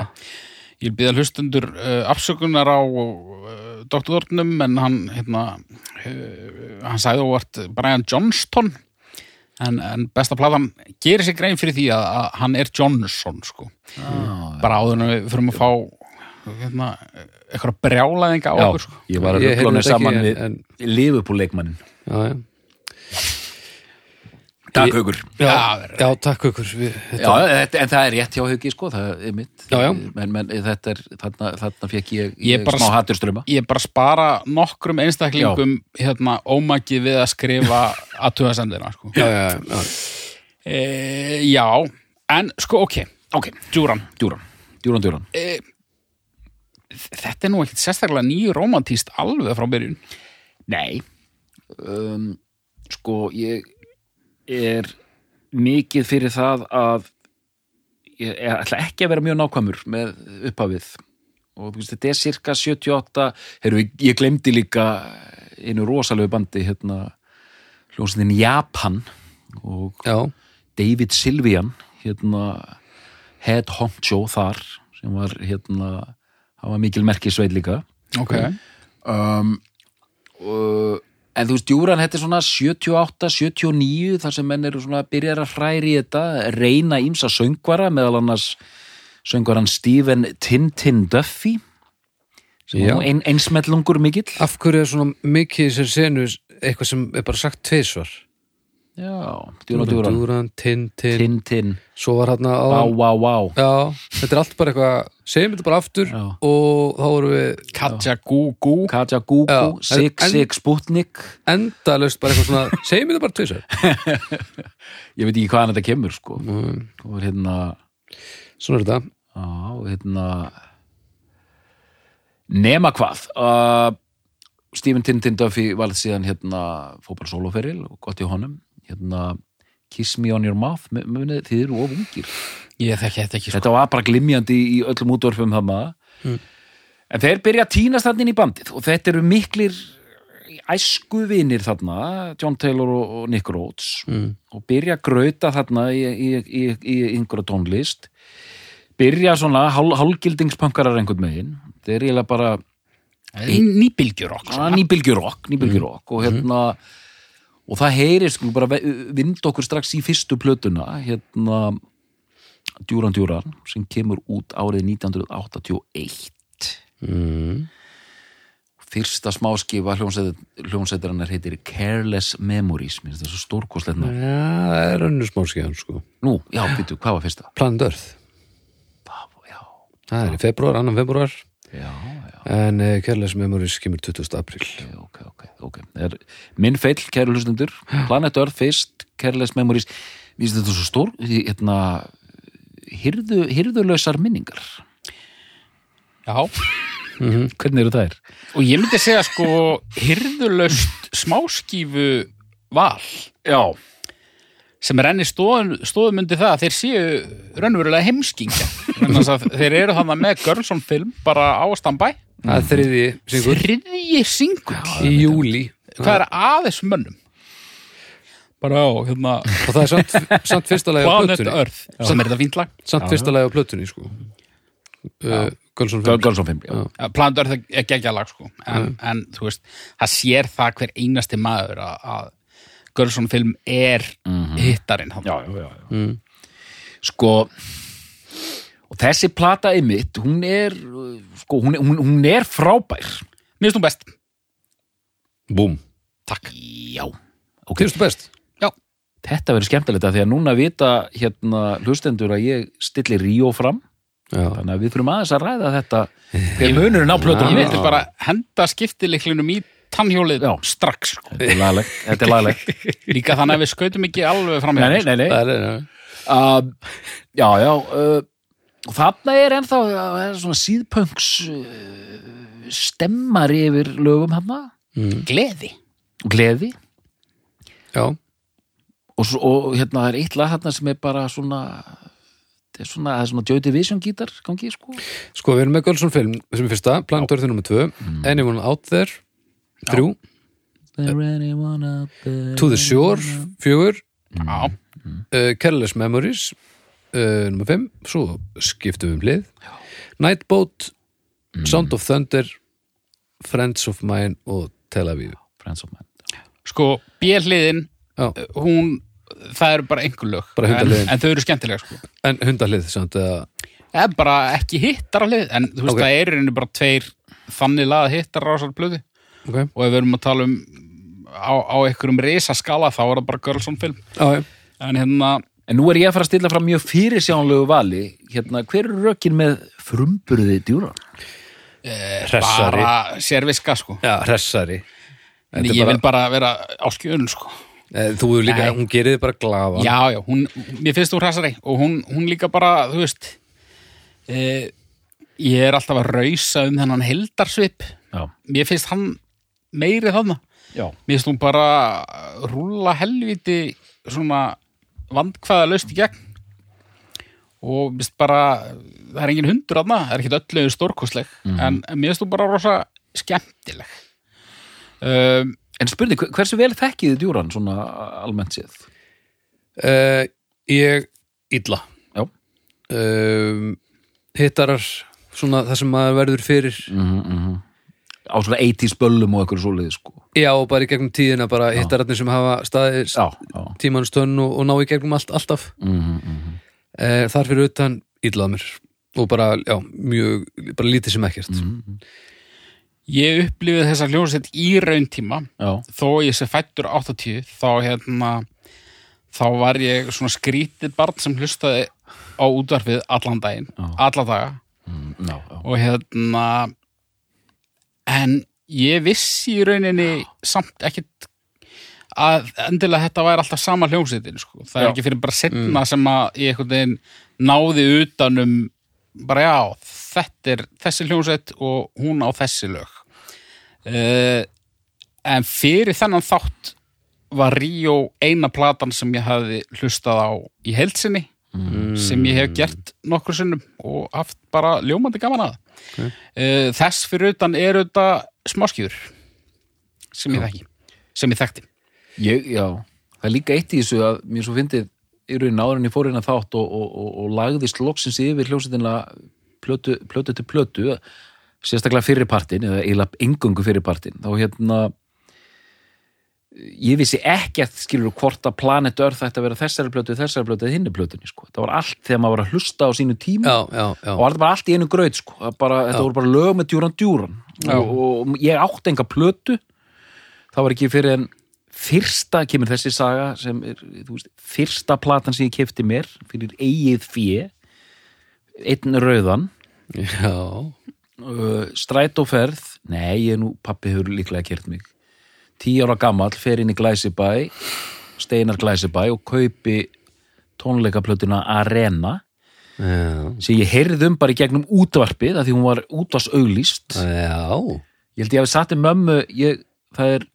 C: ég vil býða hlustundur uh, afsökunar á uh, doktornum en hann hérna, uh, hann sagði óvart Brian Johnston en, en besta platan gerir sér grein fyrir því að, að hann er Johnson sko. bara áður en við fyrir að fá hérna, eitthvað brjálæðinga á
B: Já,
C: okkur sko.
B: ég var að
A: Ég heyrði
B: ruggla hann
A: þetta ekki,
B: saman
A: en-
B: við
A: en-
B: Liverpool-leikmannin
A: já, já.
B: Takk haukur
C: Já,
A: já, takk ykkur við,
B: Já, þetta, en það er rétt hjá Hauki, sko, það er mitt.
A: Já, já.
B: En, en þetta er, þarna, þarna fekk ég,
C: Ég bara
B: smá
C: sp-
B: hatturströma.
C: ég bara spara nokkrum einstaklingum hérna, ómaki við að skrifa að tugasendina sko.
A: já, já, já,
C: e, já, en sko ok, ok, Djúran
B: Djúran, djúran, djúran.
C: e, þetta er nú ekkert sérstaklega nýromantíst alveg frá byrjun
B: Nei. Um, sko, ég er mikið fyrir það að ég, ég ætla ekki að vera mjög nákvæmur með upphafið. Og þú veist, þetta er cirka 78, heyrðu, ég- ég glemdi líka einu rosalegu bandi, hérna, hljómsveitin Japan og
A: já,
B: David Silvian hérna head honcho þar sem var hérna hann var mikil merkisveit líka
C: ok,
B: um, uh, en þú veist, Júran þetta er svona 78, 79 þar sem menn eru svona byrjar að hræri í þetta reyna ímsa söngvara meðal annars söngvaran Stephen Tintin Duffy sem
A: Já.
B: var nú ein, einsmellungur mikill
A: af hverju er svona mikið í sér senu eitthvað sem er bara sagt tvisvar
B: já, Djúran, Djúran
A: Dúran, Tin, Tin,
B: Tintin,
A: svo var hérna á
B: vá, vá, vá
A: Já, þetta er allt bara eitthvað segjum þetta bara aftur
B: Já.
A: og þá vorum við
C: Katja Gú Gú
B: Katja
A: Já,
B: Gugu,
A: en-
B: Sig, Sig, Sputnik
A: endalaust bara eitthvað svona [laughs] segjum þetta bara tvisar
B: ég veit ekki hvaðan þetta kemur sko og hérna
A: Svona er þetta
B: á, hérna nema hvað uh, Stephen Tintin Duffy valð síðan hérna fótball soloferil og gott í honum hérna Kiss Me On Your Mouth mu- munið þið eru of ungir
C: ég þekki þetta ekki sko. Mm.
B: þetta var bara glimjandi í öllum útvarfum það maður en þeir byrja að tínast þannig í bandið og þetta eru miklir æskuvinir þarna John Taylor og, og Nick Rhodes
A: mm.
B: og byrja að gröta þarna í, í, í, í einhverja tónlist byrja svona hál, hálgildingspunkarar einhvern megin þetta er eiginlega bara
C: nýbylgjur okkur
B: svona nýbylgjurokk nýbylgjurokk og hérna og það heyrir sko bara ve- vind okkur strax í fyrstu plötuna hérna Djúran Djúran sem kemur út árið 1981
A: Mm.
B: Mhm. fyrsta smáskifa hljómsveitarinnar heitir Careless Memories minnst það er svo stórkostlegt nafn.
A: Já, það er önnur smáskíðan sko
B: nú, já, býttu, hvað var fyrsta?
A: Planet Earth,
B: já,
A: það er í februar, annan februar
B: já, já
A: en uh, Kjærleis Memories kemur 20. april
B: ok, ok, ok. Það er minn feill, kæru hlustundur, Planet Earth fyrst, Careless Memories, við þetta er svo stór, hérna, hirðu, hirðulösar minningar.
C: já
B: Hvernig eru þær?
C: og ég myndi segja sko hirðulöst smáskífu val já. sem renni stóðum, stóðum undir það að þeir séu raunverulega heimskingja Þannig að þeir eru þannig með Görlson film bara á stambæ
A: Það
B: Mhm.
A: er þriðji syngur
C: þriðji singull
A: í júli
C: hvað er aðeins mönnum bara á hérna
A: og það er samt, samt fyrsta lagi á
C: Planet
A: plötunni
C: Earth sem er þetta fínt lag
A: samt fyrsta lagi á plötunni sko uh, Gölsson Fimm
B: Gölsson 5, já.
C: Ja, Planet Earth er geggja lag sko en,
A: Mm.
C: en þú veist, það sér það hver einasti maður að, að Görlson film er hittarinn hann.
B: Mhm. Já, já, já. já. Sko, og þessi plata einmitt, hún er, uh, sko, hún, er- hún, hún er frábær.
C: Mér finnst hún best
A: Búm,
C: Takk
B: Já. Ok,
A: kynstu best
C: Já,
B: þetta verður skemmtilegt að því að núna vita, hérna, hlustendur að ég stilli Ríó fram,
A: Já,
B: þannig að við þurfum aðeins að ræða þetta, hver munurinn á plötunum
C: ég
B: er.
C: vildi bara henda skiptileiklinum í tannhjólið
B: Já.
C: strax sko.
B: Þetta er laglegt, þetta er laglegt.
C: Líka þannig að við skautum ekki alveg fram
B: Nei, nei, nei, nei.
A: það er það
B: Uh, Eh, já, já, uh, og þarna er ennþá uh, er svona síðpöngs uh, stemmari yfir lögum hana
A: mm.
C: Gleði
B: og gleði
A: Já,
B: og, svo, og hérna það er eitt lag hana sem er bara svona það er svona, það er svona Joy Division gítar gangi, sko.
A: Sko, við erum með Gölsson film sem er fyrsta, Planet Earth er nummer 2 Anyone Out There 3,
B: There anyone out there
A: To the Shore Eh, 4,
C: Já,
A: eh, uh, Careless Memories uh, nummer 5, svo skiptum við um lið Nightboat, Sound of Thunder Friends of Mine og Tel Aviv
B: Friends of Mine
C: Sko, bjöliðin,
A: Já,
C: hún, það eru bara einhver lög.
A: Bara
C: en,
A: hundarliðin.
C: en þau eru skemmtilega, sko.
A: en hundahlið samt eða
C: eða bara ekki hittar á hlið en þú veist
A: Ok.
C: það eru henni bara tveir þannig laða hittar á þessar blöðu
A: okay.
C: og ef við erum að tala um á, á einhverjum risaskala þá er það bara Girlson film
A: Já, já.
C: en hérna,
B: En nú er ég að fara að stilla fram mjög fyrirsjánlegu vali hérna, hver eru rökin með frumburði djúra?
A: Hressari
C: bara sérviska sko
A: Já, hressari
C: en
A: Þetta er
C: ég vil
A: bara,
C: bara vera á skjön sko
A: eh, Þú hefur líka,
C: Nei.
A: hún gerir þið bara glafa
C: já, já, hún, mér finnst þú hressari og hún, hún líka bara, þú veist e, ég er alltaf að rausa um þennan hildarsvip
B: Já,
C: mér finnst hann meiri þarna
B: já,
C: Mér finnst hún bara rúla helviti svona vandkvæða laust í gegn og mér finnst bara það er engin hundur aðna, það er ekkert öllu stórkosleg, en, en mér finnst hún bara rosa skemmtileg um,
B: En spurning, hver- hversu vel þekkið þið djúran svona almennt séð?
A: Eh, Ég, illa
B: Já.
A: um, Hittarar svona það sem maður verður fyrir
C: Mm.
B: Mhm, Á svona 80s böllum og eitthvað svoleiði sko.
A: Já, og bara í gegnum tíðina bara hittararnir sem hafa staðið
B: Já, já.
A: tímanum stönn og, og ná í gegnum allt, alltaf
B: Mm -hmm.
A: eh, Þar fyrir utan illað mér og bara, já, mjög, bara lítið sem ekkert
C: Mm. ég upplifið þessa hljómsveit í rauntíma
B: já.
C: þó ég sé fættur 80 þá hérna þá var ég svona skrítið barn sem hlustaði á útvarfið allan daginn, alla daga
B: Mm, já, já.
C: og hérna en ég vissi í rauninni samt ekkit að endilega þetta væri alltaf sama hljómsveitin sko. það er
B: Já. Mm.
C: ekki fyrir bara setna sem að ég einhvern veginn náði utanum bara já, þetta er þessi hljómsveit og hún á þessi lög uh, en fyrir þennan þátt var Ríó eina platan sem ég hafði hlustað á í heilsinni
B: Mm.
C: sem ég hef gert nokkur sinnum og haft bara ljómandi gaman að okay. þess fyrir utan er auðvitað smáskjur sem ég þekki sem ég þekkti
B: Ég, já, það er líka eitt í þessu að mér svo fyndið í raunin áður en ég fór inn að þátt og, og, og, og lagðist loksins yfir hljósetina plötu, plötu til plötu sérstaklega fyrirpartin eða eiginlega engungu fyrirpartin þá hérna ég vissi ekkert skilur hvort að planet Earth ætti að vera þessari plötu þessari plötu eða hinni plötunni sko það var allt þegar maður var að hlusta á sínu tíma
A: Já, já, já
B: og var þetta bara allt í einu gröð sko. Það bara, þetta voru bara lög með djúran djúran og, og ég átti enga plötu það var ekki fyrir en fyrsta kemur þessi saga sem er, þú veist, fyrsta platan sem ég kefti mér fyrir eigið fjö einn rauðan
A: Já,
B: uh, strætóferð nei, ég er nú, pappi hefur líklega kert mig tíu ára gamall, fer inn í Glæsibæ Steinar Glæsibæ og kaupi tónleikaplötuna Arena
A: já,
B: sem ég heyrði um bara í gegnum útvarpið af því hún var útvars auglýst
A: já.
B: ég held ég hafi satt í mömmu ég, það er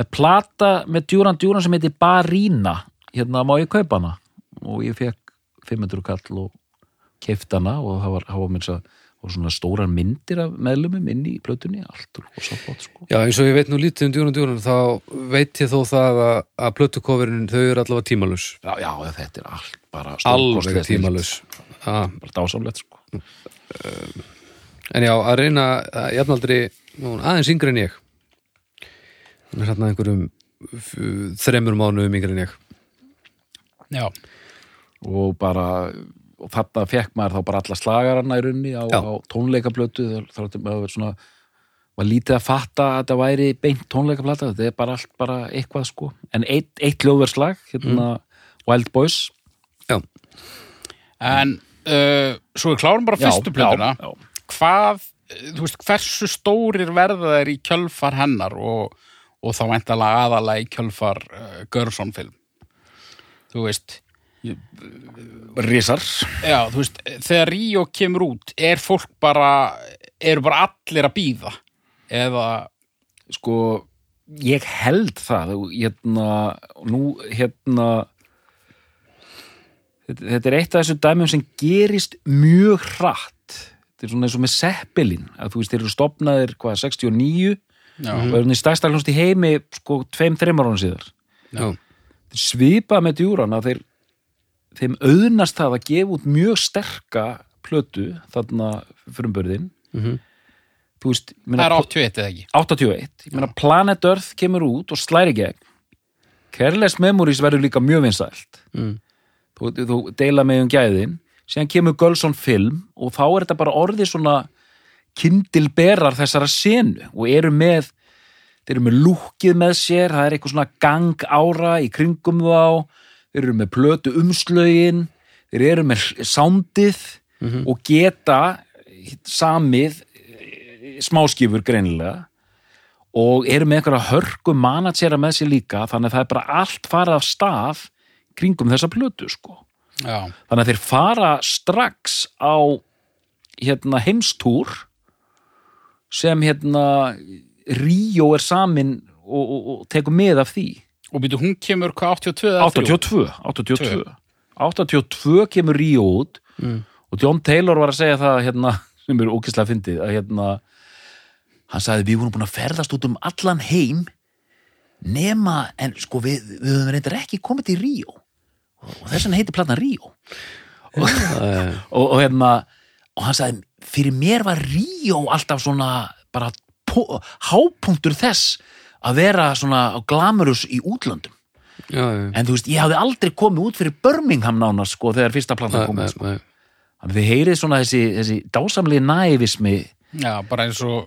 B: það er plata með djúran djúran sem heitir Barína hérna má ég kaupa hana og ég fekk 500 kall og keift hana og það var, það var, minns að, það var svona stórar myndir af meðlumum inn í plötunni allt og sáflott sko
A: Já, eins og ég veit nú lítið um djúran djúran þá veit ég þó það að, að plötukofurinn þau eru allavega tímalus
B: já, já, þetta er allt bara
A: alveg
B: stórkostlega snilld.
A: tímalus ha.
B: bara dásamlegt sko
A: En já, að reyna að jafnaldri nú, hún aðeins yngri en ég Hún er hérna einhverjum f- þremur mánuðum yngri en ég
C: já,
B: og bara og þarna fekk maður þá bara alla slagarana í runni á,
A: Já.
B: á tónleikaplötu þá þarf þetta maður að vera svona var lítið að fatta að þetta væri beint tónleikaplata þetta er bara allt bara eitthvað sko en eitt, eitt ljóðverslag hérna
C: Mm.
B: Wild Boys
A: Já,
C: en uh, svo við klárum bara fyrstu plötuna
B: já, já.
C: hvað, eh, þú veist, hversu stórir verða þær í kjölfar hennar og, og þá væntalega aðalega í kjölfar uh, Görsson film þú veist
B: Rísar
C: já, þú veist, þegar Ríó kemur út er fólk bara eru bara allir að býða eða,
B: sko ég held það og hérna, nú hérna þetta, þetta er eitt af þessu dæmum sem gerist mjög hratt þetta er svona eins og með seppilin að þú veist þeir eru stopnaðir hvað 69
C: já,
B: og eru niður stærsta hljónst í heimi sko tveim, þreim ára síðar
A: já,
B: Þeir svipa með djúran að þeir þeim auðnast það að gefa út mjög sterka plötu þarna frumbörðin
A: Mhm.
B: þú veist, ég
C: það
B: meina,
C: er 81 eða ekki
B: 81 ég meina Planet Earth kemur út og slæri gegn Careless Memories verður líka mjög vinsælt
A: Mm.
B: þú, þú deila með um gæðin síðan kemur Gölson film og þá er þetta bara orðið svona kindilberar þessara senu og eru með þeir eru með lúkið með sér það er eitthvað svona gang ára í kringum þá þeir eru með plötu umslögin þeir eru með sándið og geta samið eh, smáskífur greinilega og eru með einhverja hörku manatjera með sér líka þannig að það er bara allt farið af stað kringum þessa plötu sko
C: já,
B: þannig að þeir fara strax á hérna heimstúr sem hérna Ríó er samin og, og, og tekur með af því
C: og býtu hún kemur hvað 82 eða 83?
B: 82 82, 82 kemur Ríó út og John Taylor var að segja það hérna, [laughs] sem er ókislega fyndið að hérna hann sagði við vorum búin að ferðast út um allan heim nema en sko við, við höfum reyndar ekki komið til Ríó og þess vegna heitir platan Ríó
A: já,
B: og, og, hérna, og hann sagði fyrir mér var Ríó alltaf svona bara pó- hápunktur þess að vera svona glamurus í útlöndum
A: já, já.
B: en þú veist, ég hafði aldrei komið út fyrir Birmingham nána sko þegar fyrsta planta
A: Nei,
B: kom
A: nei,
B: út, sko.
A: nei.
B: þannig þið heyrið svona þessi, þessi dásamlega nævismi
C: já, bara eins og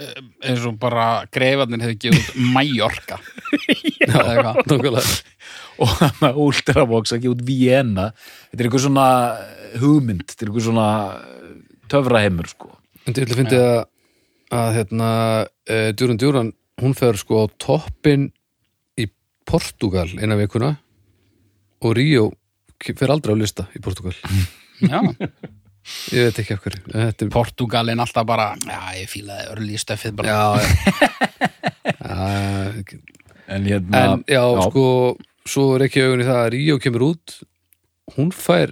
C: eh, eins og bara greifarnir hefði gefið út Mallorca eða eitthvað
A: Nákvæmlega.
B: [laughs] og hann að Ultravox ekki út Vienna þetta er einhver svona eh, hugmynd þetta er einhver svona eh, töfraheimur sko
A: En ég ætla að fyndi að, að hérna, uh, Djúran Djúran, hún fer sko á toppin í Portugal innan vikuna og Ríó ke- fer aldrei á lista í Portugal.
C: já,
A: Ég veit ekki af hverju. En Þetta er...
C: Portugalin alltaf bara já, ég fílaði örlí stöfið bara
A: Já, já.
B: en, hérna,
A: En já, sko, svo er ekki augun í það að Ríó kemur út, hún fær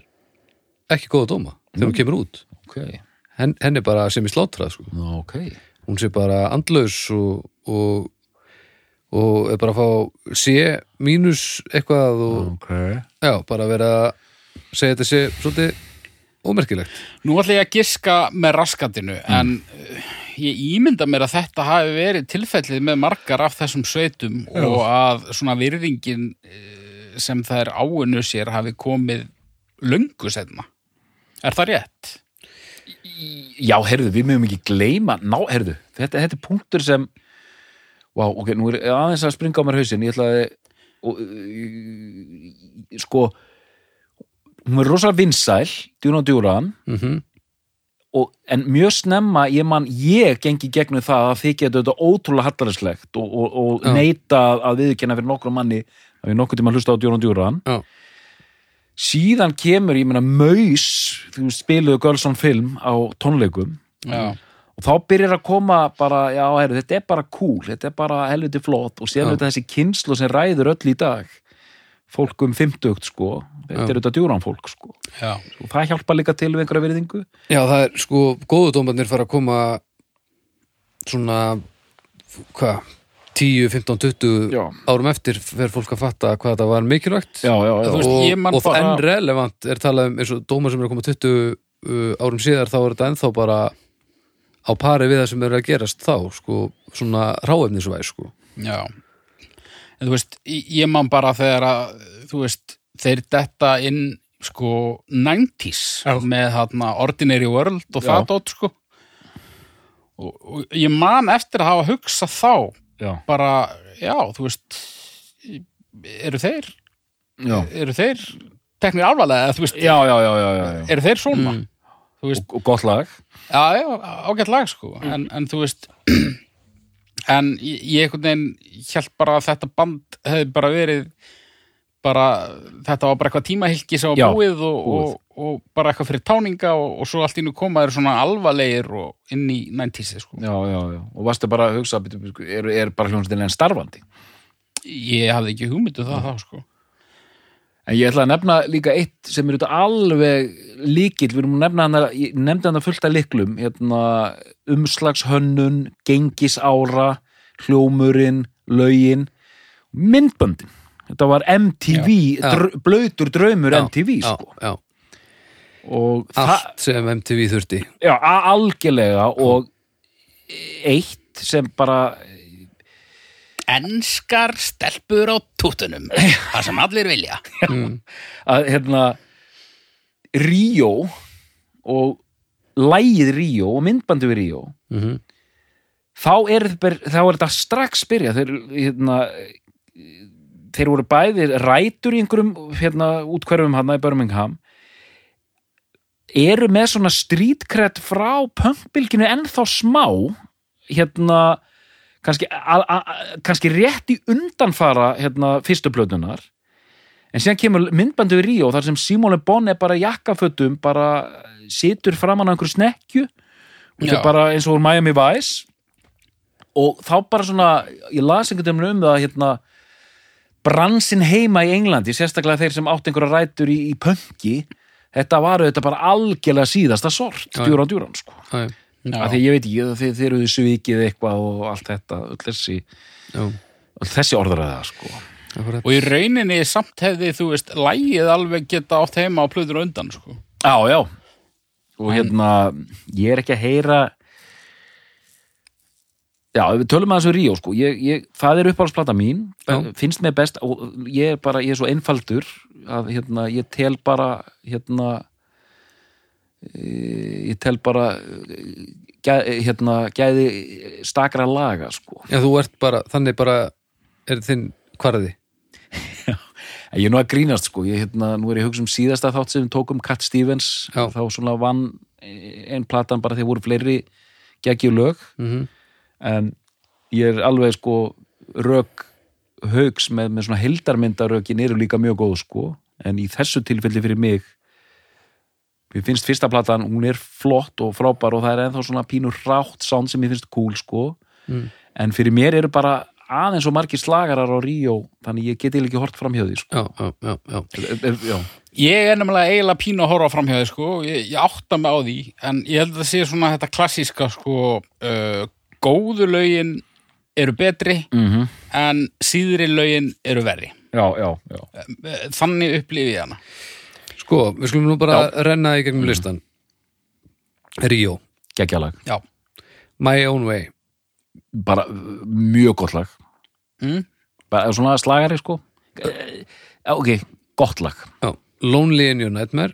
A: ekki góða dóma þegar hún kemur út.
B: okay.
A: Henn, henn er bara sem í slátrað, sko.
B: Nú, okay.
A: hún sé bara andlaus og, og, og er bara að fá sé mínus eitthvað og
B: Okay.
A: já, bara að vera að segja þetta sé svolítið ómerkilegt
C: Nú ætla ég að giska með raskatinu en uh, ég ímynda mér að þetta hafi verið tilfellið með margar af þessum sveitum og að svona virðingin eh, sem það er áinu sér hafi komið löngu setna. Er það rétt?
B: Já, heyrðu, við mögum ekki gleyma Ná, heyrðu, þetta, þetta er punktur sem Vá, ok, nú er aðeins að springa á mér hausinn Ég ætlaði og, uh, Sko Hún er rosalega vinsæl Djúran og djúran
A: mm
C: Mhm.
B: og, En mjög snemma, ég man Ég gengi gegnum það að þykja þetta ótrúlega hallarinslegt og, og, og
A: Já.
B: neita að viðurkenna fyrir nokkrum manni að við nokkuð tíma hlusta á djúran og djúran
A: já,
B: Síðan kemur, ég meina, Maus þú spiluðu Gölson film á tónleikum
C: Já.
B: og þá byrjar að koma bara, já, heru, þetta er bara cool, þetta er bara helviti flott og
A: Já.
B: síðan auðvitað þessi kynslu sem ræður öll í dag fólk um 50 sko,
A: Já.
B: þetta er auðvitað djúran fólk sko,
C: Já.
B: og það hjálpa líka til við einhverja virðingu
A: já, það er sko góðu dómarnir fara að koma svona hvað, 10, 15, 20
B: Já.
A: árum eftir fer fólk að fatta hvað þetta var mikilvægt
B: já, já,
C: þú
B: já,
C: veist,
A: og,
C: ég man
A: og
C: bara-
A: enn relevant er talað um eins og dómar sem eru að koma 20 uh, árum síðar þá er þetta ennþá bara á pari við það sem eru að gerast þá sko, svona ráefnisvæð sko.
C: Já. En þú veist, ég ég man bara þegar að, þú veist, þeir detta inn sko 90s með þarna Ordinary World og
B: Já.
C: það dótt sko. Og, og ég man eftir að hafa hugsað þá
B: já,
C: bara, já, þú veist, eru þeir,
B: já,
C: eru þeir teknir alvarlega, eða þú veist,
B: já, Mm. já, já, já, já, já.
C: eru þeir svona? Þú veist,
B: Og, og gott lag
C: Já, já, ágætt lag sko en, en þú veist [clears throat] en ég ég einhvern veginn held bara að þetta band hefði bara verið bara, þetta var bara eitthvað tímahylki sem var
B: Já,
C: búið og,
B: búið.
C: Og, og bara eitthvað fyrir táninga og, og svo allt innu komaður svona alvarlegir og inn í 90s sko.
B: já, já, já, og varstu bara að hugsa bíddu, bíddu, er, er bara hljónstinlega en starfandi
C: Ég hafði ekki hugmyndu það þá sko
B: En ég ætla að nefna líka eitt sem er auðvitað alveg líkill, við erum að nefna hana, ég nefndi hana fullt af liklum, hérna, umslagshönnun, gengisára, hljómurinn, lögin, myndböndin. Þetta var MTV,
A: Já.
B: dr blöytur draumur MTV,
A: já,
B: sko.
A: já.
B: og það,
A: allt sem MTV þurfti
B: já, a- algjörlega og eitt sem bara
C: Enskar stelpur á tútunum Það sem allir vilja
B: að hérna Ríó og lægið Ríó og myndbandi við Ríó
A: mm
C: Mhm.
A: -hmm.
B: þá er, ber- þá er þetta strax byrja þeir, hérna, þeir voru bæðir rætur í einhverjum hérna, útkverfum hann í Birmingham eru með svona strítkrætt frá pönkbylginu ennþá smá hérna kannski, a, a, a- kannski rétt í undanfara hérna, fyrstu plötunar en síðan kemur myndbandi við Ríó þar sem Simone Bonn er bara í jakkafötum bara situr framan á einhverju snekkju og þetta
C: Já.
B: er bara eins og úr Miami Vice og þá bara svona ég las einhvern veginn um það að, hérna, bransin heima í Englandi sérstaklega þeir sem átt einhverja rætur í, í pönki þetta varu þetta bara algjörlega síðasta sort
A: Já, já.
B: djúran djúran sko
A: já,
B: af því ég veit ekki, þeir, þeir eru svikið eitthvað og allt þetta, öll þessi
A: já,
B: öll þessi orðræða sko
A: akkurat.
C: Og í rauninni samt hefði, þú veist, lægið alveg geta átt heima á plöður undan, sko
B: já, já og hérna, ég er ekki að heyra já, ef við tölum aðeins um Ríó sko, ég, ég, það er uppáhaldsplata mín eh,
A: Já.
B: finnst mér best og ég er bara, ég er svo einfaldur að hérna, ég tel bara hérna eh, ég tel bara eh, gæ, hérna, gæði stakra laga sko
A: já, þú ert bara, þannig bara er þinn kvarði
B: Ég er nú að grínast sko, ég hérna, nú er ég að hugsa um síðasta þátt sem við tókum Cat Stevens
A: Já.
B: þá svona vann einn platan bara þegar voru fleiri geggjur lög
A: Mhm.
B: en ég er alveg sko rök haugs með, með svona heldarmyndarökin eru líka mjög góð sko en í þessu tilfelli fyrir mig mér finnst fyrsta platan, hún er flott og frábær og það er ennþá svona pínur rátt sound sem mér finnst cool sko
A: Mm.
B: en fyrir mér eru bara aðeins og margir slagarar á Ríó þannig ég geti ekki hort fram hjá því sko
A: já, já, já, já.
B: Er- er- Já,
C: Ég er nefnilega eiginlega pínu að horfa framhjáði sko, ég, ég átta mig á því en ég held að það sé svona þetta klassíska sko, uh, góðu lögin eru betri
B: Mhm.
C: en síðri lögin eru verri
B: já, já, já.
C: Eh, Þannig upplifi ég hana
A: sko, við skulum nú bara renna í gegnum listan Ríó,
B: Gekkjalag,
C: Já,
A: My Own Way
B: bara uh, mjög gott lag
C: mm?
B: bara svona slagari sko Eh, Já, ok, gott lag
A: já. Lonely in Your Nightmare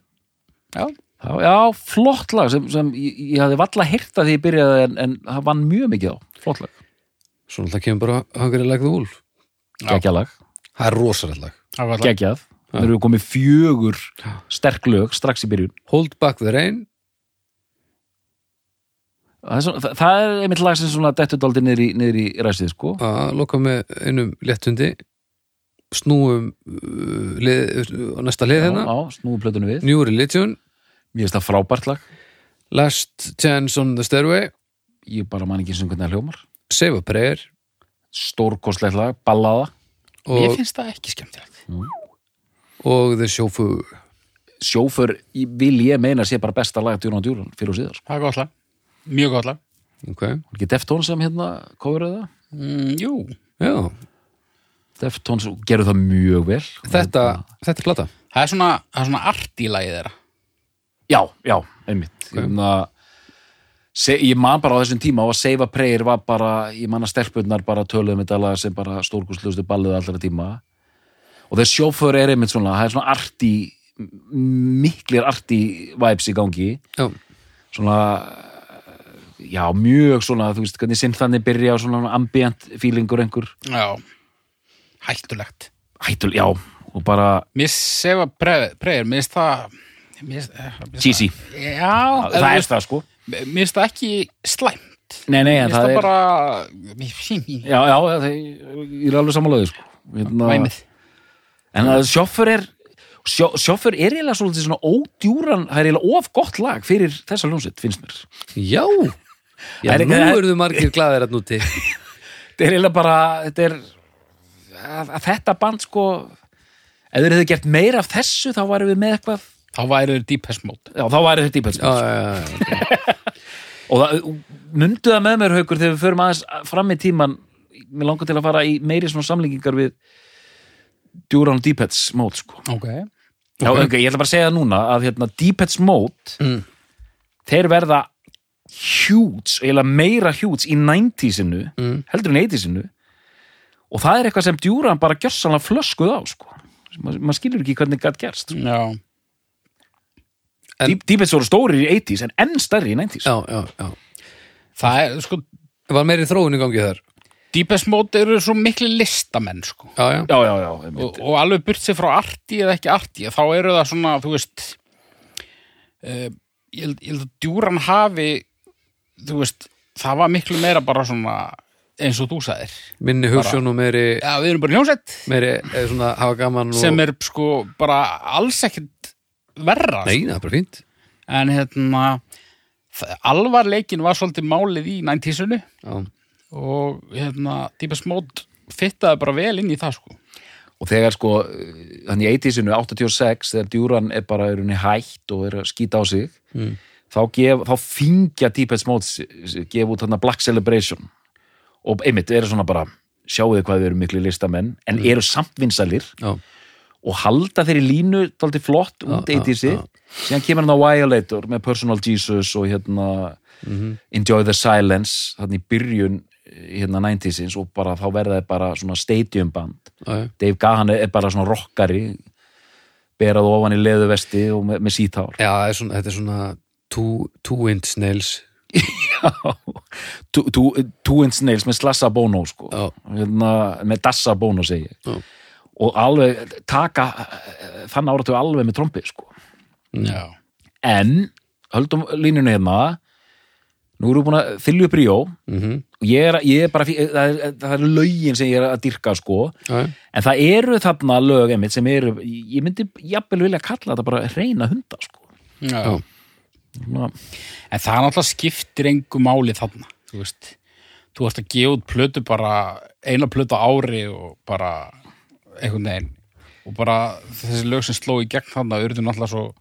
C: já.
B: Já, já flott lag sem, sem ég, ég hafði valla hýrta því ég byrjaði en, en það vann mjög mikið á flott lag,
A: svo náttúrulega kemur bara Hungry Like the Wolf
B: gekkjalag,
A: það er rosalega
C: Það var það.
B: geggjað Það eru komið fjögur sterk lög strax í byrjun.
A: Hold Back the Rain
B: Það er, svona, það- það er einmitt lag sem svona dettur daldi niður í, niður í ræsið, sko.
A: að loka með einum léttundi snúum uh, lið, uh, á næsta lið
B: Já,
A: hérna
B: já, snúðu plötunum við.
A: New Religion,
B: Mér finnst það frábært lag.
A: Last Chance on the Stairway
B: Ég bara man ekki sem hvernig það hljómar.
A: Save a Prayer
B: Stórkostlegt lag, ballaða.
C: Mér
A: og,
C: finnst það ekki skemmtilegt
A: og The Chauffeur
B: sjófur í- vil ég meina sé bara besta lag djúran og djúran fyrir og síðar sko.
C: Það er gott lag, mjög gott lag
A: okay.
B: Var ekki Deftones sem hérna coverið það
C: mm, Jú,
A: Já,
B: Deftones gerðu það mjög vel
A: þetta, þetta er plata
C: það er svona, það er svona art í lagi þeirra
B: já, já, einmitt okay. ég, se, ég man bara á þessum tíma og að Save a Prayer var bara ég man að stelpunnar bara töluðum þetta lag sem bara stórkustlustu ballið allra tíma og þess sjófur er einmitt svona það er svona arti miklir arti vibes í gangi
A: Já,
B: svona já, mjög svona, þú veist hvernig sinn þannig byrja og svona ambient feelingur einhver,
C: Já, hættulegt
B: hættul, já og bara,
C: Mér sefa preyður, mér finnst það mér finnst- eh, mér finnst
B: sísi,
C: það- Já,
B: það er það sko
C: Mér finnst það ekki slæmt.
B: nei, nei,
C: Mér
B: en
C: finnst
B: það
C: það
B: er
C: bara...
B: já, já, það, ég er alveg samanlega sko, hérna,
C: Væmið.
B: en að sjoffur er sjó, sjoffur er eiginlega svolítið svona ódjúran það er eiginlega of gott lag fyrir þessa ljónsett, finnst mér
A: já, já
B: Það er-
A: nú
B: það-
A: eru þau margir glæðir að núti
B: þetta er eiginlega bara þetta er, að, að þetta band sko ef þeir hefðu gert meira af þessu þá varum við með eitthvað
C: Þá væri þau Deepest Mode.
B: já, þá væri þetta íbæðspil
A: [laughs] Já, já, já, já.
B: og það, mundu það með mér haukur þegar við förum aðeins fram í tíman mér langar til að fara í meiri svona samlingingar við Duran og Deepets mót sko
C: Ok.
B: Já, ok, ég ætla bara að segja það núna að hérna, Deepheads Mode þeir verða hjúts, eiginlega meira hjúts í 90-sinu, heldur en 80-sinu og það er eitthvað sem djúran bara gjörsanlega flöskuð á sko. Ma, maður skilur ekki hvernig gætt gerst sko.
C: Já,
A: En-
B: Deep- Deepheads voru stórir í 80s en enn stærri í 90s
A: já, já, já
C: það er sko
A: Var meiri þróun í gangi þar
C: Deepest Mode eru svo miklu listamenn sko
A: Já, já,
B: já, já, já, einmitt.
C: og, og alveg burt sér frá arti eða ekki arti þá eru það svona, þú veist uh, ég, held- ég held að djúran hafi þú veist, það var miklu meira bara svona eins og þú sagðir
A: minni hugsun og meiri,
C: Já, við erum bara hljómsett
A: meiri eh, svona, hafa gaman og...
C: sem er sko bara alls ekkert verra
A: Nei, það er bara fínt
C: sko. en hérna það- alvarleikin var svolítið málið í 90-sunu
A: Já,
C: og hérna, Deepest Mode fittaði bara vel inn í það sko
B: og þegar sko hann í 80-sinu 86 þegar djúran er bara er hætt og er að skýta á sig
A: Mm.
B: þá, gef, þá fingja Deepest Mode s- s- gefa út þarna Black Celebration og einmitt eru svona bara sjáuðu hvað við erum miklu listamenn en
A: Mm.
B: eru samt vinsalir
A: já,
B: og halda þeirri línu dálítið flott út
A: já,
B: 80-si síðan kemur hann á Violator með Personal Jesus og hérna
A: Mhm.
B: Enjoy the Silence þannig í byrjun eh, hérna 90-sins og bara þá verða þeir bara svona stadium band
A: já, já,
B: Dave Gahan er bara svona rockari berað ofan í leðuvesti og með, með sítár
A: já það er svona, þetta er svona two, two inch nails
B: Two- Two two Inch Nails með slassa bónó sko.
A: Já.
B: hérna, með dassa bónó segi ég.
A: Já.
B: og alveg taka eh, þann áratu alveg með trompi sko.
C: Já,
B: en höldum línunni hérna nú erum við búin að þylju upp ríó
A: mm -hmm.
B: og ég er, ég er bara fí- það er, það er lögin sem ég er að dyrka sko.
A: já, já.
B: en það eru þarna lög einmitt sem eru, ég myndi jafnvel vilja kalla þetta bara reyna hunda sko.
C: já.
A: Já.
B: Svona-
C: En það náttúrulega skiptir engu máli þarna, þú veist. Þú ert að gefa út plötu bara eina plötu á ári og bara einhvern veginn. Og bara þessi lög sem sló í gegn þarna urðu náttúrulega svo,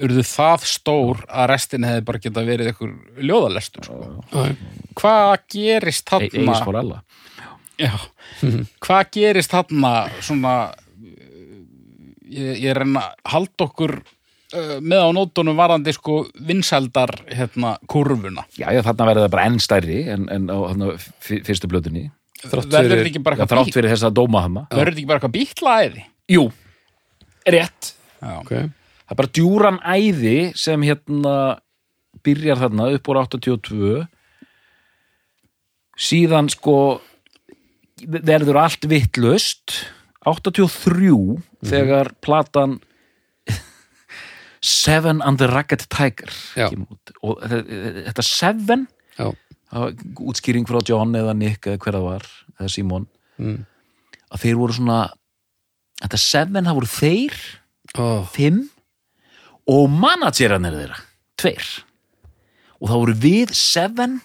C: urðu það stór að restin hefði bara geta verið einhver ljóðalestur, sko.
A: já.
C: Hvað gerist
B: E- Egil
C: þarna?
B: Skorella
C: Já, hvað gerist þarna svona, uh, ég, ég reyna að halda okkur uh, með á nótunum varandi sko vinsældar hérna kurvuna.
B: Já, já, þarna verður það bara enn stærri en, en á þarna, fyr- fyrstu blöðunni
A: Þrátt
C: verður
A: fyrir-
C: þetta ekki bara
B: Já,
C: eitthvað
B: þrátt
C: bít-
B: fyrir þess að dóma hana
C: verður þetta ekki bara eitthvað bítlaæði
B: Jú, rétt
A: Ok,
B: Það er bara djúran æði sem hérna byrjar þarna upp úr 82 síðan sko verður allt vittlust 83 þegar platan Seven and the Ragged Tiger
A: Já.
B: kemur út. og þe- þe- þetta Seven
A: já,
B: það var útskýring frá John eða Nick eða hver það var, eða Simon
A: Mm.
B: að þeir voru svona þetta seven, það voru þeir
A: ó,
B: fimm og managerarnir þeirra, tveir og það voru við seven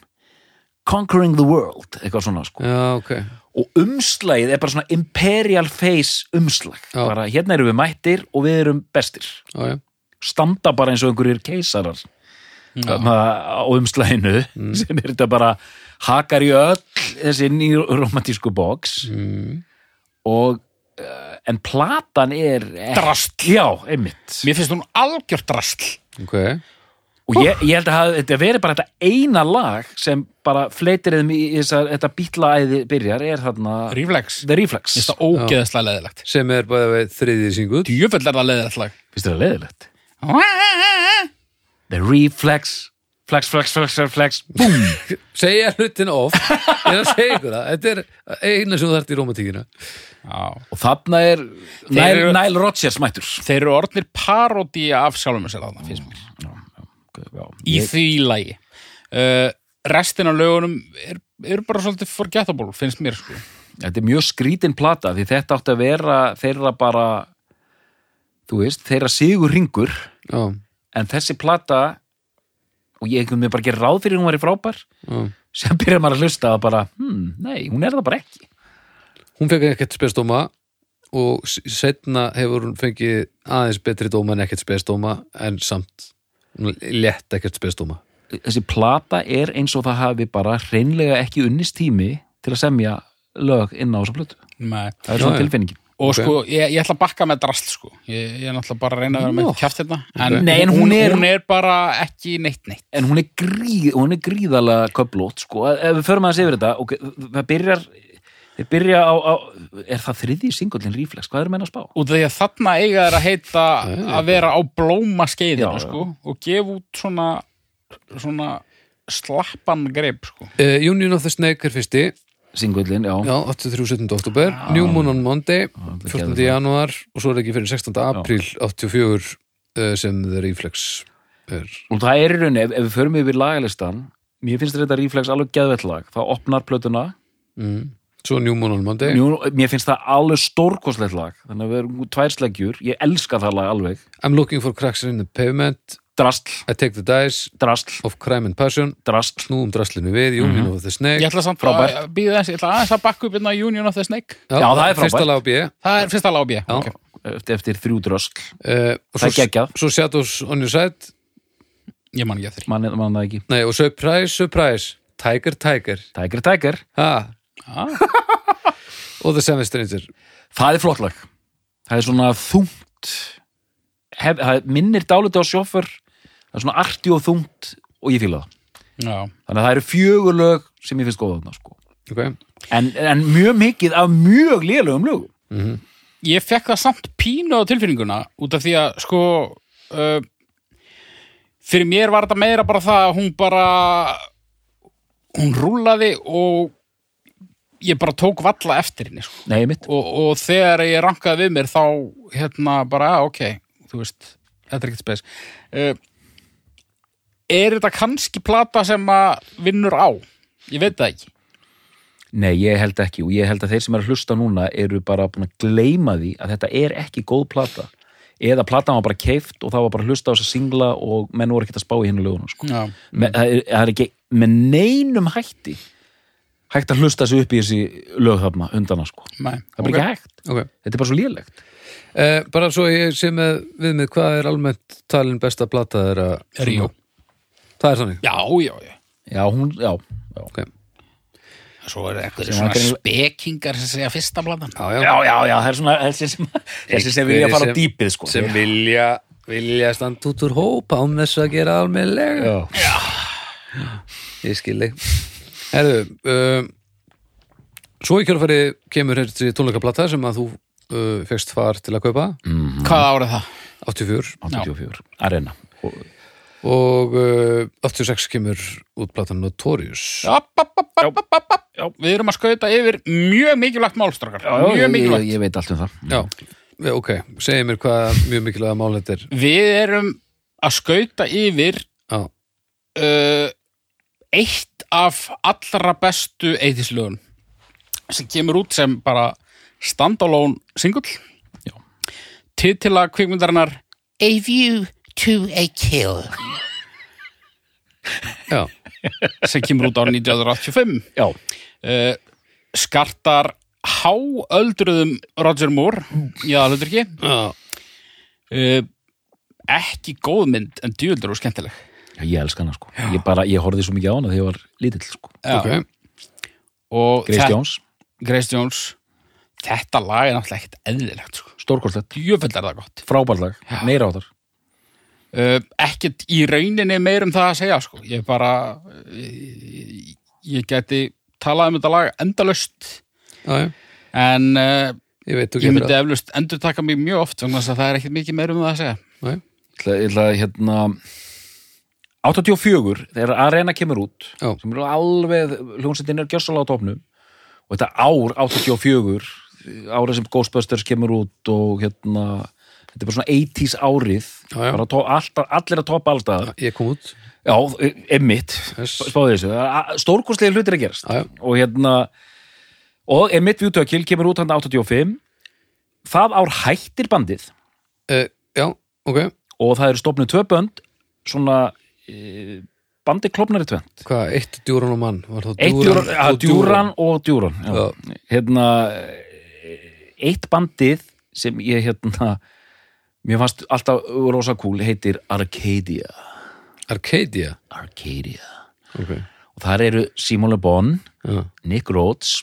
B: conquering the world eitthvað svona sko
A: já, ok
B: og umslagið er bara svona imperial face umslag
A: Já.
B: bara hérna erum við mættir og við erum bestir
A: Já, já,
B: standa bara eins og einhverjir keisarar þarna á umslæðinu
C: Mm.
B: sem er þetta bara hakar í öll þessi nýromantísku box
A: mm.
B: og uh, en platan er
C: Drasl.
B: já, einmitt
C: mér finnst hún algjört drasl
A: ok
B: og ég, ég held að hafi- þetta veri bara þetta eina lag sem bara fleitir þeim í þessar, þetta bítlaæði byrjar er þarna
C: ríflex,
B: The Reflex
C: finnst það ógeðslega leðilegt
A: sem er bara við þriðið synguð
C: djöfull er það leðilegt lag
B: finnst þetta leðilegt The Reflex Flex, flex, flex, flex, flex Búm
A: segja hlutin of ég er að segja ykkur það, þetta er eina sem þú þarft í rómatíkina
C: Já.
B: Og þarna er
C: Þeir
B: Nile,
C: eru-
B: Nile Rodgers mættur
C: þeir eru orðnir parodía af sjálfum sér þarna finnst mér í því lagi uh, restin af lögunum er, er bara svolítið forgettable finnst mér sko
B: þetta er mjög skrítin plata því þetta átti að vera þeirra bara þú veist, þeirra sigur ringur
A: já,
B: en þessi plata og ég einhvern veginn bara gerir ráð fyrir hún væri frábær [laughs]
A: já.
B: sem byrjar maður að hlusta að bara hmm, nei, hún er það bara ekki
A: hún fekk ekkert spesdóma og s- seinna hefur hún fengið aðeins betri dóma en ekkert spesdóma en samt hún létt ekkert spesdóma
B: þessi plata er eins og það hafi bara hreinlega ekki unnist tími til að semja lög inn á þessa plötu
C: Nei.
B: það
A: Já,
B: er svona
A: já.
B: tilfinningin
C: og
A: Ok.
C: sko, ég, ég ætla að bakka með drast sko. ég, ég er náttúrulega bara að reyna að vera með
A: Nó.
C: no. kjaft hérna en,
B: Nei, en hún
C: hún,
B: er-
C: hún er bara ekki neitt neitt
B: en hún er, gríð, hún er gríðalega köplót sko, ef við förum að segja yfir þetta ok, það byrjar þeir byrja á, á er það þriði singullin ríflex, hvað er menn að spá?
C: út af því að þarna eiga þær að heita að vera á blóma
B: Já, já.
C: skeiðinu sko, og gefa út svona, svona slappan greip sko.
A: Uh, Union of the Snake er fyrsti
B: singullin, já,
A: Já, 83. 17. oktober New Moon on Monday,
B: það
A: 14.
B: er geðveikt.
A: januar og svo er ekki fyrir 16. apríl 84 uh, sem The Reflex er
B: og það er í rauninni ef, ef við förum yfir lagalistan mér finnst þetta ríflex alveg geðvett lag það opnar plötuna,
A: mm. Svo New Moon on Monday
B: Njú, mér finnst það alveg stórkoslegt lag, þannig að við erum tvær sleggjur, ég elska það lag alveg
A: I'm looking for cracks in the pavement
B: drastl,
A: I take the dice
B: drastl,
A: of crime and passion
B: drastl
A: Snúum draslinu við,
B: Mhm.
A: Union of the Snake
C: ég ætla samt
B: Frábært.
C: að býða þess ég ætla aðeins að bakka upp hérna Union of the Snake
B: Já, það er
A: Fyrsta
B: frábært.
A: lag á B
C: það er fyrsta lábja
A: Já.
C: okay.
B: eftir, eftir þrjú drastl,
A: uh,
B: Það er geggjað.
A: Svo Shadows on your side
C: ég man ekki að þér
B: mann man það ekki
A: Nei, og Surprise, Surprise Tiger, Tiger
B: Tiger Tiger,
A: ha.
C: ah,
A: [laughs] Og The Seven Stranger
B: það er flott lag það er svona þungt hef, það er- minnir dálítið á sjófur það er svona arti og þungt og ég fíla það
C: já.
B: þannig að það eru fjögur lög sem ég finnst góða þarna sko.
A: okay.
B: en, en mjög mikið af mjög lélögum lögum
C: ég fekk það samt pínu á tilfinninguna út af því að sko uh, fyrir mér var þetta meira bara það að hún bara hún rúlaði og ég bara tók valla eftir henni sko.
B: nei mitt,
C: og, og þegar ég rankaði við mér þá hérna bara, ah, ok þú veist, þetta er ekkert spes uh, er þetta kannski plata sem að vinnur á ég veit það ekki
B: nei ég held ekki og ég held að þeir sem eru að hlusta núna eru bara búin að gleyma því að þetta er ekki góð plata eða platan var bara keift og það var bara að hlusta á þess að singla og menn voru ekkert að spá í hennu lögunum sko.
C: Já.
B: með, það, er, það er ekki með neinum hætti hægt að hlusta sig upp í þessi lög þarna undana sko
C: Nei,
B: það er bara
C: ok.
B: ekki hægt,
A: Okay.
B: þetta er bara svo lélegt
A: Uh, bara svo ég sé með viðmið hvað er almennt talin besta plata þeirra
C: Ríó.
A: Það er þannig
C: Já, já, já
B: já, hún, já, já,
A: okay.
C: Svo er eitthvað
B: Sem
C: svona
B: var greinilega-
C: spekingar sem segja fyrsta platan
A: já, já.
B: já, já, já það er svona [laughs] þessi sem, þessi sem vilja
A: Einhverjir
B: fara
A: sem-
B: á dýpið sko
A: sem vilja vilja standa út úr hópa án þess að gera almennilega
B: já.
A: Ég skil þig Herðu, um, svo í kjálfæri kemur hér til tónleikaplata sem að þú uh, fegst far til að kaupa
B: Mm.
C: Hvað árið það?
A: 84
B: 84, arena og,
A: og uh, 86 kemur út platan Notorious
C: App, app, app, app, app, app, app. Við erum að skauta yfir mjög mikilvægt málstrakar
B: ég,
C: Mjög
B: ég,
C: mikilvægt
B: ég veit allt um það
A: Já, já ok, segi mér hvað mjög mikilvæga mál þetta er
C: Við erum að skauta yfir
A: Já,
C: uh, eitt af allra bestu eithislögun sem kemur út sem bara standalone singull
B: Já.
C: titila kvikmyndarinnar A View to a Kill
A: já,
C: sem kemur út á 1985
B: já,
C: uh, skartar háöldruðum Roger Moore
B: Mm.
C: í aðalhutur ekki
A: já.
C: uh, ekki góð mynd en djúldur og skemmtileg
B: Já, ég elska hana sko ég bara, ég horfði svo mikið á hana þegar ég var lítill sko
A: ok
C: og
B: Grace
C: þe-
B: Jones,
C: Grace Jones þetta lag er náttúrulega ekkert eðlilegt sko.
B: stórkorslegt
C: djöfell er það gott
B: frábærlag, meira á þar
C: uh, ekkert í rauninni meir um það að segja sko. ég bara ég, ég geti talað um þetta lag endalaust
A: Já, já,
C: en uh,
A: ég veit þú
C: ég
A: kemur
C: myndi eflust endur taka mig mjög oft vegna þess að það er ekkert mikið meir um það að segja
A: Nei.
B: Ég ætla, ég ætla að, hérna 84 þegar Arena kemur út
A: Já.
B: sem eru alveg, hljónsettin er gjössalega á topnum og þetta ár 84 árið sem Ghostbusters kemur út og hérna þetta er bara svona 80s árið
A: Já, já.
B: Bara to, alltaf, allir að topa allstaðar
A: Ég kom út
B: já, e, emmitt,
A: Yes.
B: spáði þessu Það er a- stórkostlegir hlutir að gerast
A: Já, já.
B: og hérna og emmitt Vjútökil kemur út hann 85 það ár hættir bandið
A: uh, Já, ok,
B: og það eru stofnið tvö bönd svona e, bandi klopnari tvent
A: hvað, eitt djúran og mann Var það
B: eitt djúran, djúran, djúran og djúran já.
A: Já.
B: hérna eh, eitt bandið sem ég hérna mér fannst alltaf rosa kúl heitir Arcadia
A: Arcadia
B: Arcadia
A: Ok,
B: og þar eru Simon Le Bon
A: já,
B: Nick Rhodes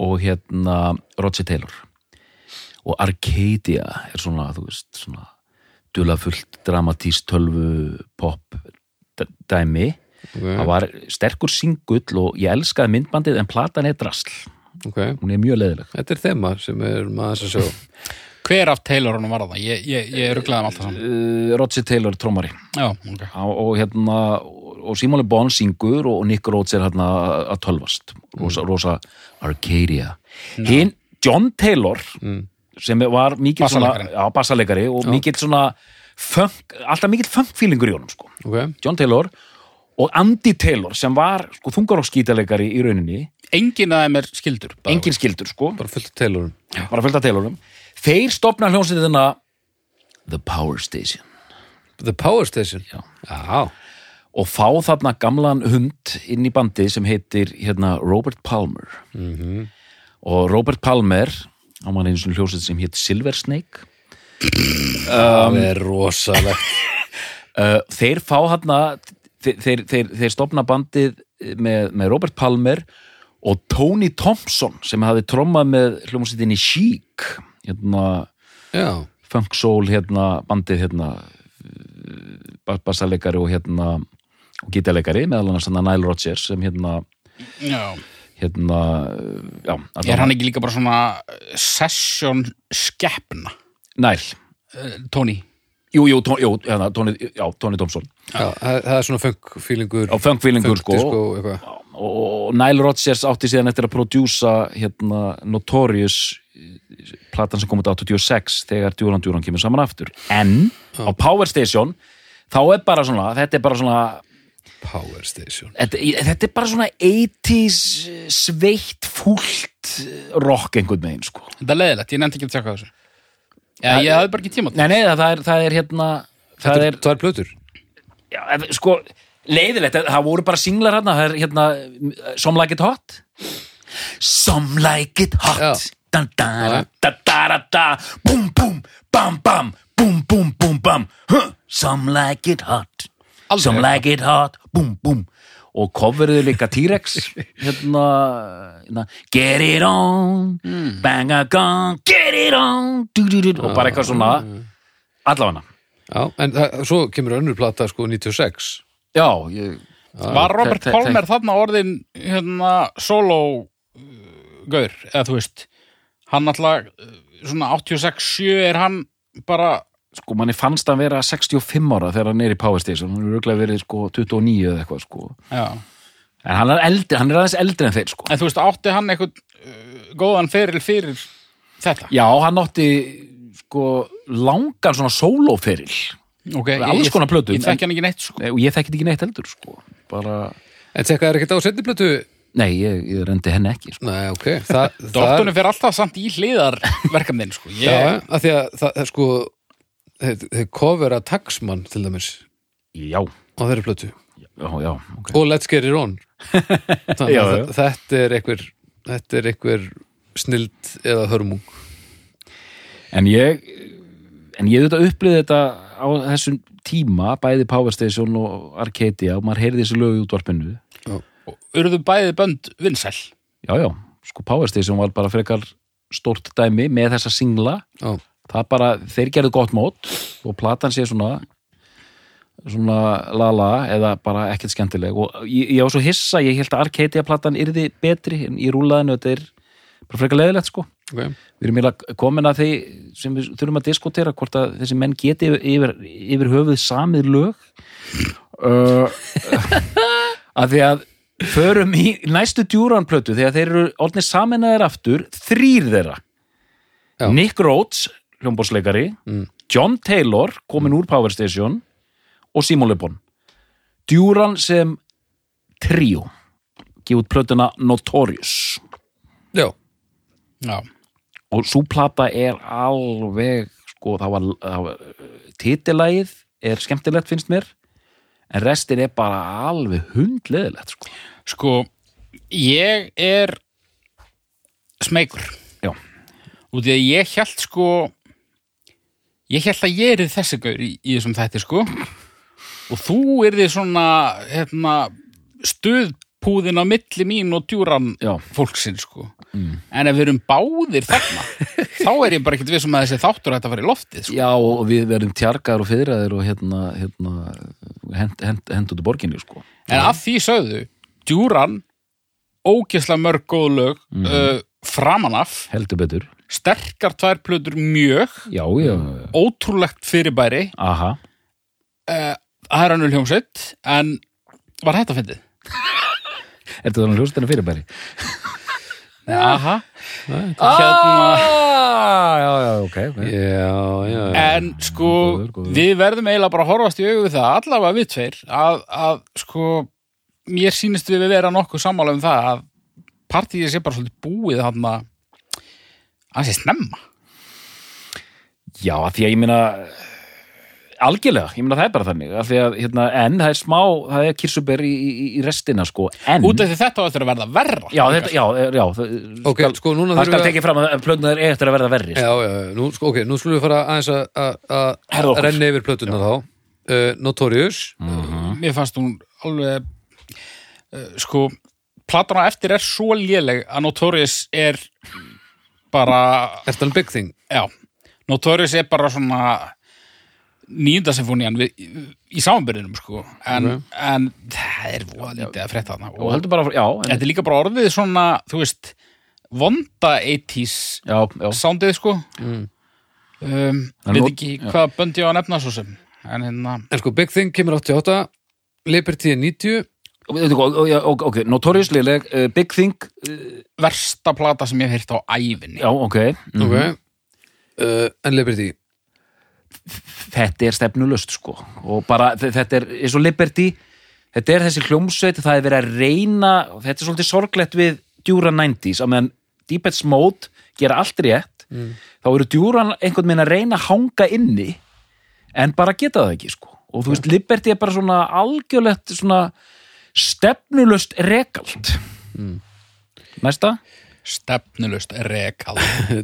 B: og hérna Roger Taylor og Arcadia er svona, þú veist, svona dulafullt dramatíst tölvu pop d- dæmi það var sterkur singull og ég elskaði myndbandið en platan er drasl
A: ok,
B: hún er mjög leðileg
A: þetta er þema sem er maður að sjá
C: Hver af Taylor honum var það? Ég, ég, ég rugglaði um allt það saman.
B: uh, Roger Taylor trómari
C: Já, ok.
B: og, og hérna og Simóli Bond syngur og Nick Rhodes er hérna að tölvast
C: Mm.
B: rosa, rosa Arcadia hinn John Taylor sem var mikill svona
C: Mm. Bassaleikari.
B: já, bassaleikari og mikill svona funk, alltaf mikill funkfílingur í honum sko.
A: ok,
B: John Taylor og Andy Taylor sem var sko, þungaróskítalegari í rauninni
C: Engin af þeim er skildur. bara.
B: engin skildur sko,
A: bara fullt af tailorum
B: bara fullt af Taylorum þeir stopna hljómsveitina The Power Station
A: The Power Station
B: Já.
A: Já.
B: og fá þarna gamlan hund inn í bandi sem heitir hérna Robert Palmer -hmm. og Robert Palmer hann var einu svona hljóset sem heit Silver Snake Um,
A: það er rosalegt
B: [laughs] uh, þeir fá þarna þeir, þeir, þeir, þeir stopna bandið með, með Robert Palmer og Tony Thompson sem hafði trommað með hljómsettinni Chic hérna
A: Já,
B: funk soul hérna bandið hérna uh, bassalegari og hérna og gítalegari meðal annars hann Nile Rodgers sem hérna
C: Já.
B: hérna uh, já, allan-
C: Er hann ekki líka bara svona eh, session skeppna?
B: Nile
C: Eh, Tony.
B: Jú, jú, tó, jú hérna, Tony, já, Tony Thompson
A: já það, það er svona funk feelingur
B: á fengfílingur sko
A: disco, eitthvað.
B: og Nile Rodgers átti síðan eftir að prodjúsa hérna Notorious eh, platan sem kom út 86 þegar Duran Duran kemur saman aftur en á Power Station þá er bara svona, þetta er bara svona
A: Power Station
B: þetta, í- þetta er bara svona 80s sveitt fúlt rock einhvern veginn sko.
C: Þetta er leðilegt, ég nefndi ekki að tjekka þessu. Já, ég hafði bara ekki tíma til.
B: Nei, nei, það er, það er hérna það
A: Það
B: er,
A: er tvær plötur
B: já, en sko leiðilegt, það voru bara singlar hérna, það er hérna Some Like It Hot Some Like It
A: Já.
B: Hot
A: Já.
B: dan, dan, da, da, da, da, bum, bum, bam, bam bum, bum, bum, bam huh. Some Like It Hot
C: Aldrei.
B: Some Like It Hot, bum, bum og coverðu líka T-Rex hérna, hérna Get it on, bang a gong Get it on du, du, du, og bara eitthvað svona allafana
A: Já, en það, svo kemur önnur plata sko 96
B: Já, ég
C: Var Robert
B: Þe- þe-
C: Palmer þarna orðin hérna solo uh, gaur, eða þú veist hann alltaf eh, svona 86-7 er hann bara
B: sko, manni fannst hann vera 65 ára þegar hann er í Power Station, hann er auðvitað verið sko 29 eða eitthvað sko
C: já.
B: en hann er, eldri, hann er aðeins eldri en þeir sko
C: en þú veist, átti hann eitthvað uh, góðan feril fyrir þetta
B: Já, hann átti sko langan svona sólóferil
C: okay, ég-
B: alls
C: ég-
B: konar plötur,
C: ég þekki hann ekki neitt sko.
B: og ég þekkit ekki neitt eldur sko bara,
A: En tekka er ekkert á setni plötu
B: nei, ég, ég rendi henni ekki sko.
A: Nei, ok Þa, það,
C: Dóttunum fyrir alltaf samt í hliðarverkamðin sko.
A: Já,
B: Eh.
C: ég,
A: að því að það, það sko þeir, þeir covera Taxman til dæmis
B: Já,
A: á þeirri plötu
B: já, já ok
A: og Let's Get It
B: [laughs]
A: On Þannig
B: Já,
A: að
B: já.
A: þa- þetta er einhver þetta er einhver snild eða hörmung
B: En ég en ég auðvitað upplýði þetta á þessum tíma, bæði Power Station og Arcadia og maður heyrði þessi lög í útvarpinu
C: urðu bæði bönd vinsæl
B: Já, já, sko Power Station var bara frekar stórt dæmi með þessa singla
A: Já,
B: það bara, þeir gerðu gott mót og platan sé svona svona lala eða bara ekkert skemmtileg og ég, ég var svo hissa, ég held að Arcadia platan yrði betri en í rúlaðinu þetta er bara frekar leðilegt sko
A: ok
B: við erum eiginlega komin að því sem við þurfum að diskutera hvort að þessi menn geti yfir, yfir höfuð samið lög uh, að því að förum í næstu djúranplötu þegar þeir eru orðnir saminaðir aftur þrýr þeirra
A: Já.
B: Nick Rhodes, hljómbósleikari John Taylor, komin úr Power Station og Simon Le Bon djúran sem tríó gefið út plötuna Notorious
A: Já,
C: já.
B: og svo plata er alveg sko, það var, það var titilagið er skemmtilegt finnst mér en restin er bara alveg hundleðilegt sko.
C: sko, ég er smeykur
B: já,
C: út í að ég held sko ég held að ég erið þessi gaur í, í þessum þætti sko og þú erði svona hérna, stuðpúðin á milli mín og djúran
B: Já.
C: fólksinn sko en ef við erum báðir [laughs] þarna þá er ég bara ekkert vissum að þessi þáttur ætti að fara í loftið sko.
B: Já, og við verðum tjargar og fyrraðir og hérna, hérna hend, hend, hend út í borginni, sko.
C: en að því sögðu, djúran ógeðslega mörg góð lög uh, framanaf
B: Heldur betur.
C: sterkar tvær plötur mjög
B: Já, já,
C: ótrúlegt fyrirbæri
B: aha.
C: uh, það er annul hljómsveit en var þetta að fyndið?
B: Er þetta þannig hljóstina fyrirbæri?
C: Aha. Hérna,
B: Ah, já, já, ok. okay.
A: Já, já, já.
C: en sko
B: Góður, góður.
C: við verðum eiginlega bara að horfast í augu við það allavega við tveir að, að sko mér sýnist við vera nokkuð sammála um það að partíið sé bara svolítið búið hann að að sé snemma
B: Mhm. Já, af því að ég meina algjörlega, ég meina það er bara þannig af því að, hérna, en það er smá það er kirsuber í, í, í restina, sko en,
C: út af því þetta á eftir að verða verra
B: já, þetta, já, já það,
A: Ok, sko, núna
B: það
A: þurfum
B: skal
A: við að-
B: tekið fram að plögnar er eftir að verða verri
A: Já, já, já, nú, sko, ok, nú skulum við fara aðeins að- að-
B: Herða
A: að
B: okkur. Mm.
A: renna yfir plötuna þá uh, Notorious
B: Mhm.
C: mér fannst hún alveg uh, sko platan á eftir er svo léleg að Notorious er bara
A: Er þetta big thing?
C: Já, Notorious er bara svona nýnda symfónían við, í samanbyrðinum sko en, en það er voða lítið að frétta þarna
B: og
C: og
B: heldur bara, já, en,
C: þetta er líka bara orðið svona, þú veist vonda 80s
B: já, já Mm.
C: soundið sko um,
B: En
C: veit
B: not-
C: ekki hvaða bönd ég á að nefna svo sem en hérna,
A: En sko, big thing kemur 88 Liberty er 90
B: Og- og- og- og- og- ok, notorious liðleg, uh, big thing uh,
C: versta plata sem ég hef heyrt á ævinni
B: já, ok, mm,
A: Ok uh, En Liberty
B: þetta er stefnulöst, sko og bara, þe- þetta er, eins og Liberty þetta er þessi hljómsveit, það er verið að reyna og þetta er svolítið sorglegt við Duran 90s, að meðan Deepest Mode gera allt rétt þá eru Duran einhvern veginn að reyna að hanga inni en bara geta það ekki, sko og þú veist, Liberty er bara svona algjörlegt svona stefnulöst rekald næsta?
C: stefnulust rekal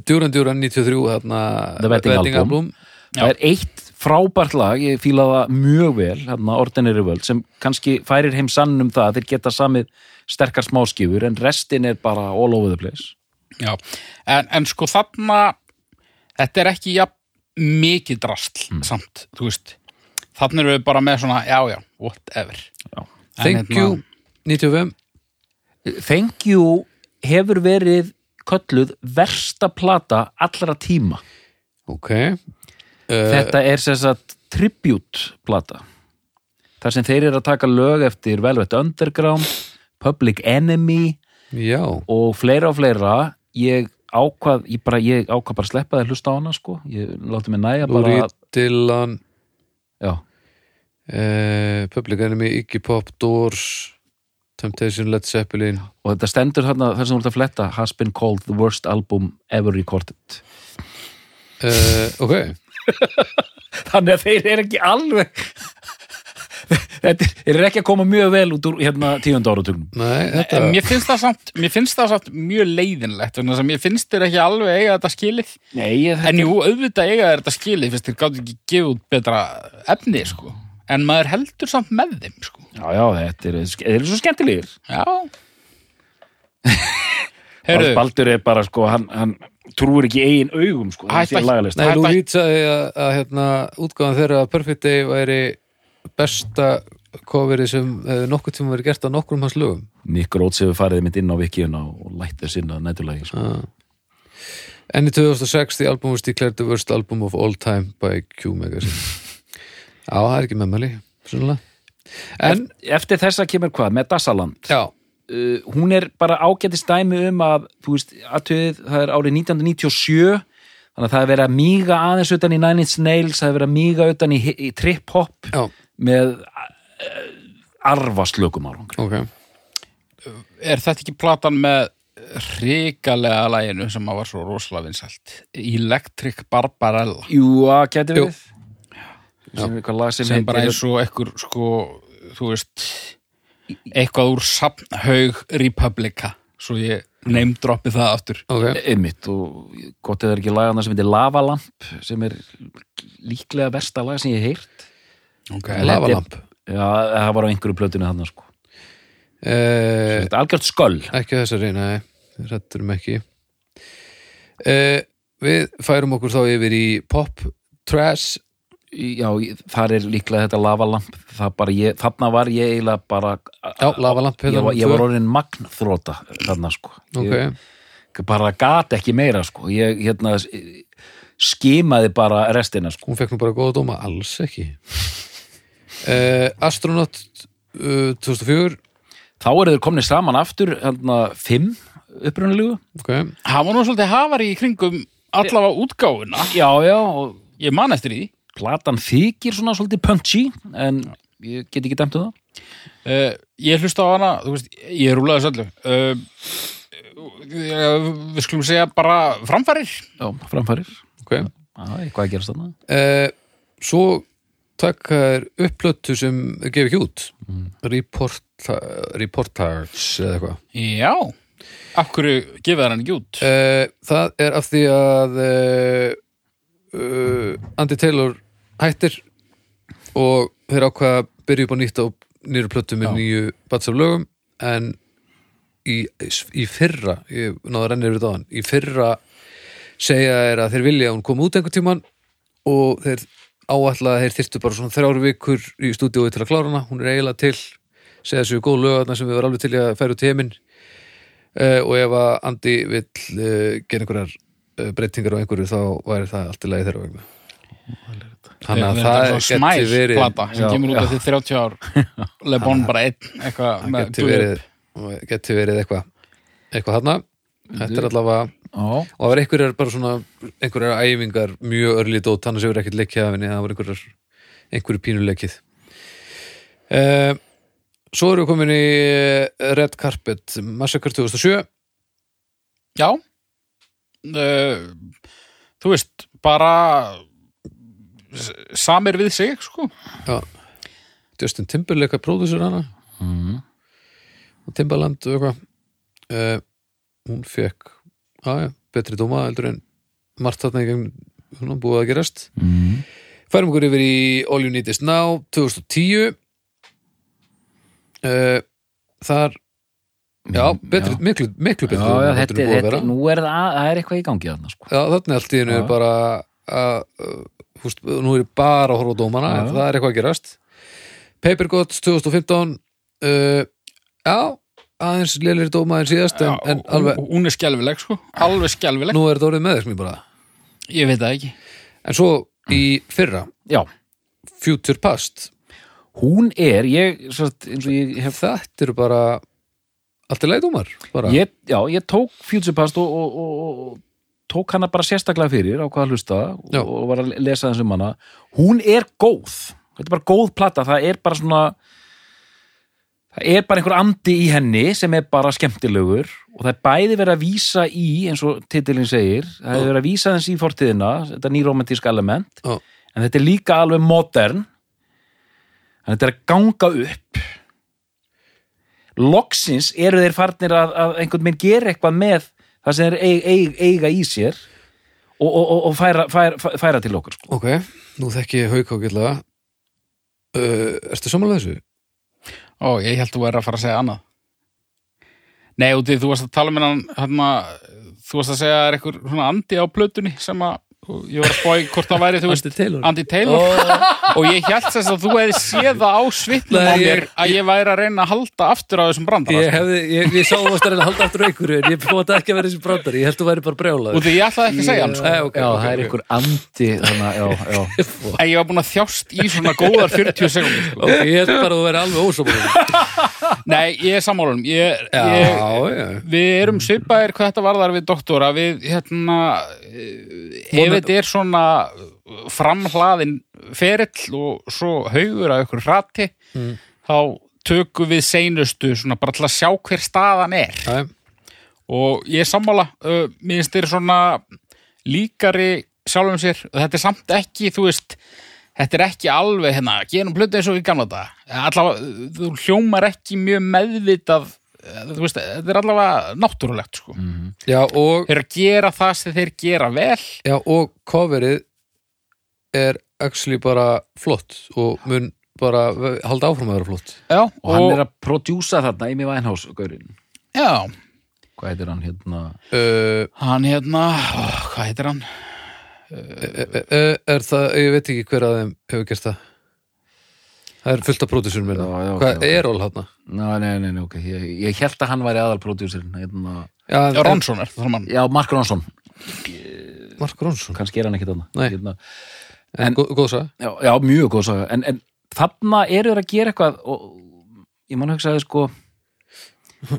A: Duran Duran 93 þarna,
B: The Wedding Album. Það er eitt frábært lag, ég fíla það mjög vel, hérna Ordinary World, sem kannski færir heim sann um það að þeir geta samið sterkar smáskifur, en restin er bara all over the place.
C: Já, en, en sko þarna þetta er ekki jafn mikið drastl
A: Hmm.
C: samt, þú veist þarna erum við bara með svona, já, já, whatever
B: Já.
C: En
A: Thank
C: hérna-
A: you 95
B: Thank You hefur verið kölluð versta plata allra tíma.
A: Ok
B: Þetta er sem sagt tribute plata. Þar sem þeir eru að taka lög eftir Velvet Underground, Public Enemy,
A: Já
B: og fleira og fleira ég ákvað, ég bara, ég ákvað bara að sleppa það hlusta á hana sko, ég láti mig næja bara
A: Lúri Dylan
B: já,
A: uh, Public Enemy Iggy Pop Doors Temptation Led Zeppelin
B: og þetta stendur þarna þar sem þú ert að fletta, has been called the worst album ever recorded
A: uh, Ok
B: [laughs] þannig að þeir eru ekki alveg [laughs] þetta er- þeir eru ekki að koma mjög vel út úr hérna tíundu áratugnum
A: Nei, þetta
C: En mér finnst það samt, mér finnst það samt mjög leiðinlegt, þannig að mér finnst þér ekki alveg eiga þetta skilið,
B: Nei, ég,
C: en jú, auðvitað eiga þér þetta skilið, fyrst þér gátt ekki gefið út betra efni, sko en maður heldur samt með þeim, sko
B: já, já, þetta er, þeir eru svo skemmtilegir
C: Já
A: [laughs]
C: Heyrðu,
B: Baldur er bara sko, hann, hann trúir ekki eigin augum sko,
C: Hætt að-
B: lagalist
A: Nei,
C: Þetta-
A: Lou Reed sagði að, að hérna, útgáðan þeirra að Perfect Day væri besta coverið sem hefði nokkuð tíma verið gert að nokkrum hans lögum
B: Nick Rhodes hefur farið mitt inn á vikið og lætt þess inn að nætulagi sko.
A: En í 2006 the album was declared the worst album of all time by Q
B: [laughs]
A: Magazine Já, það er ekki meðmæli Sannlega En,
B: eftir þessa kemur hvað, Metasaland uh,
A: já,
B: hún er bara ágætist dæmi um að þú veist, aðtöðið, það er árið 1997 þannig að það er verið að míga aðeins utan í Nine Inch Nails, það er verið að míga utan í, í trip-hop
A: já,
B: með uh, arfaslökum árangri
A: ok
C: er þetta ekki platan með hrikalega læginu sem að var svo rosalega vinsælt Electric Barbarella
B: Jú, að gæti
A: Jú.
B: við sem er eitthvað lag sem,
C: sem bara
B: heitir-
C: eins og ekkur sko, þú veist eitthvað úr Samhaug Republica svo ég neymdroppi það aftur
A: Ok,
B: einmitt og gott eða er ekki lagana sem heitir Lavalamp sem er líklega versta lag sem ég hef heyrt
C: okay.
B: þetta er-
A: lavalamp
B: Já, það var á einhverju plötinu hann sko.
A: eh,
B: Þetta er algjört sköll
A: Ekki á þessari, nei við retturum ekki uh, Við færum okkur þá yfir í pop trash
B: já, ég- þar er líklega þetta lavalamp það bara ég, þarna var ég eiginlega bara
A: Já, lavalamp
B: Ah,
A: hérna
B: ég, var- ég var orðin magnþróta þarna sko
A: Ok.
B: ég bara gat ekki meira sko ég hérna s- skimaði bara restina sko
A: Hún fekk nú bara góða dóma, alls ekki uh, Astronaut uh, 2004
B: þá eru þeir komni saman aftur hérna fimm upprunalegu
A: okay.
C: Hann var nú svolítið hafari í kringum allavega útgáfuna.
B: já já og
C: Ég man eftir því.
B: platan þykir svona svolítið punchy en ég get ekki dæmt um það
C: Uh, ég hlusta á hana, þú veist, ég rúlaði þessu öllu. Uh, uh, Eh, við skulum segja bara framfærir.
B: já, framfærir
A: ok
B: Já, eitthvað að gerast þarna
A: uh, Svo taka þær upplötu sem þeir gefa ekki út Reporta, Reportage eða eitthvað
C: Já. Af hverju gefið þær hann ekki út?
A: Eh, Það er af því að uh, uh, Andy Taylor hættir og þeir ákvaða að byrja upp á nýtt á nýru plötu með nýju bats af lögum en í, í fyrra ég náðu að renna yfir þetta á hann í fyrra segja þeir að þeir vilja að hún kom út einhvern tímann og þeir áætla að þeir þyrftu bara svona þrjár vikur í stúdíói til að klára hana hún er eiginlega til segja þessu góð lögarna sem við varum alveg til í að færa út í heiminn uh, og ef að Andi vill uh, gera einhverjar uh, breytingar á einhverju þá væri það allt í lagi þeirra vegna þannig að
C: Þetta
A: það
C: er
A: geti
C: svona smæl
A: verið
C: plata sem
B: Já,
C: kemur út eftir 30
A: [laughs]
C: ár. Le Bon bara einn, eitthvað.
A: það
C: með
A: geti
C: dúr.
A: verið, geti verið eitthvað eitthvað þarna þetta er allavega
B: já,
A: og það var einhverjar bara svona einhverjar æfingar mjög örlít og þannig sem verið ekkert leikjað af henni það var einhverjar einhverju pínuleikið uh, svo erum við komin í eh, Red Carpet Massacre 2007
C: Já. Uh, þú veist, bara s- samir við sig, sko.
A: Já. Justin Timberlake að pródusir hana
B: Mm.
A: og Timbaland og eitthvað uh, hún fekk aðja, betri dóma heldur en margt þarna í gegn hún búið að gerast
B: Mhm.
A: færum okkur yfir í All You Need Is Now 2010 uh, þar já, betri, miklu, miklu betri
B: Mm, já, já
A: dóma heldur en
B: þetta,
A: búið að
B: þetta,
A: vera
B: nú er það, það er eitthvað í gangi þarna sko.
A: já, þarna er allt í hennu
B: Já.
A: bara að, uh, húst, nú er ég bara að horfa á dómana,
B: Já.
A: en það er eitthvað að gerast Paper Gods 2015 uh, já aðeins lélir dóma en síðast en, en
C: Já,
A: alveg,
C: hún er skelfileg, sko. Alveg skelfileg.
A: nú er þetta orðið með þessum bara
C: Ég veit það ekki.
A: en svo í fyrra,
B: já,
A: Future Past
B: hún er ég, satt, eins og ég hef
A: þetta eru bara allt er leið dómar bara.
B: ég, já, ég tók Future Past og, og, og, og tók hana bara sérstaklega fyrir á hvað að hlusta og,
A: Já.
B: og var að lesa þessum hana hún er góð, þetta er bara góð plata það er bara svona það er bara einhver andi í henni sem er bara skemmtilegur og það er bæði verið að vísa í, eins og titilin segir það er verið að vísa þess í fortíðina þetta nýromantísk element
A: Já.
B: en þetta er líka alveg modern en þetta er að ganga upp loksins eru þeir farnir að, að einhvern minn gera eitthvað með það sem þeir eig, eig, eiga í sér og, og, og, og færa, færa, færa til okkur sko.
A: ok, nú þekki ég hauk ágætlega uh, ertu samanlega þessu?
C: Ó, ég held þú er að fara að segja annað. Nei, úti, þú varst að tala með hann, hérna, þú varst að segja að það er einhver svona andi á plötunni sem að, og ég var að spói hvort það væri, þú veist,
A: Taylor
C: Andy Taylor og ég held þess að þú hefði séð það á svitnum á
A: Nei,
C: mér
A: ég-
C: að ég væri að reyna að halda aftur á þessum brandara. sko.
A: Ég hefði, ég, ég sá þú varst að reyna að halda aftur einhverju en ég fóta ekki að vera þessi brandar, ég held þú væri bara brjálaður
C: Úti, ég ætlaði ekki að segja hann, sko.
A: Nei, ok,
B: já,
A: ok,
B: það
A: ok.
B: er einhver andi þannig, já, já.
A: [laughs]
C: En ég var búin að þjást í svona góðar 40 sekundir, sko.
A: Ok, ég held bara að þú væri alveg ósámála
C: Nei, ég er sammálunum. Ég, ég,
A: Já, já
C: Við erum svipaðir hvað þetta varðar við doktora við hérna eh, ef þetta er svona framhlaðin ferill og svo haugur að ykkur hrati
A: Mm.
C: þá tökum við seinustu svona bara til að sjá hver staðan er
A: Æ,
C: og ég er sammála uh, minnst þeir svona líkari sjálfum sér og þetta er samt ekki þú veist, þetta er ekki alveg hérna, gerum plötu eins og í gamla daga allavega, þú hljómar ekki mjög meðvitað eh, þú veist, þetta er allavega náttúrulegt sko.
A: Já, og,
C: þeir eru að gera það sem þeir gera vel
A: já, og coverið er actually bara flott og mun bara ve- halda áfram að vera flott
C: já,
B: og hann er að prodjúsa þarna í mig vænhás
C: já,
B: hvað heitir hann hérna
A: uh,
C: Hann hérna, ó, hvað heitir hann?
A: er, Eh, er það, ég veit ekki hver að þeim hefur gert það það er fullt af pródusur minna
B: Já, já, ok,
A: hvað
B: ok.
A: er ól hátna?
B: Ná, nei, nei, nei, ok, ég, ég held að hann væri aðalprodúsirinn hérna,
A: Já,
C: Já,
A: en-
C: Ronsson er það mann.
B: já, Mark Ronson
A: en Mark Ronsson
B: kannski er hann ekkit hann
A: Nei.
B: hérna,
A: en, gó- góð saga
B: já, já, mjög góð saga en, en þarna eru þeir að gera eitthvað og ég mann hugsaði sko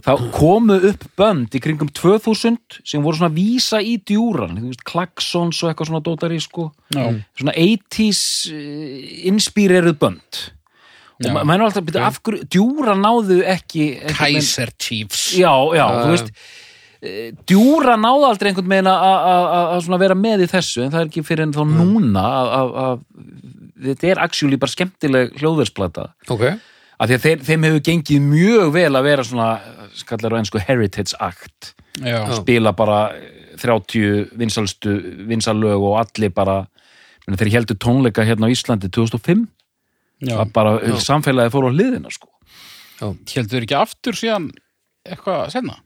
B: þá komu upp bönd í kringum 2000 sem voru svona að vísa í djúran þú veist, Klaxons og eitthvað svona dótari sko
C: Já.
B: svona 80s eh, inspireruð bönd og
C: Já.
B: ma- maður er alltaf að byrja af hverju djúra náðu ekki einhvern veginn-
C: Kaiser Chiefs.
B: já, já,
A: Já,
B: þú
A: já.
B: veist eh, djúra náðu aldrei einhvern veginn að- að- að að- að svona vera með í þessu en það er ekki fyrir en þá
C: Mm.
B: núna að- að að- þetta er actually bara skemmtileg hljóðversplata
A: ok,
B: af því að þeir, þeim hefur gengið mjög vel að vera svona eh, skallar á ennsku heritage act
C: Já.
B: spila bara eh, 30 vinsalstu vinsalög og allir bara meni, þeir heldur tónleika hérna á Íslandi 2005
C: Já.
B: að bara samfélagi fór á hliðina sko.
C: Heldur ekki aftur síðan eitthvað senna?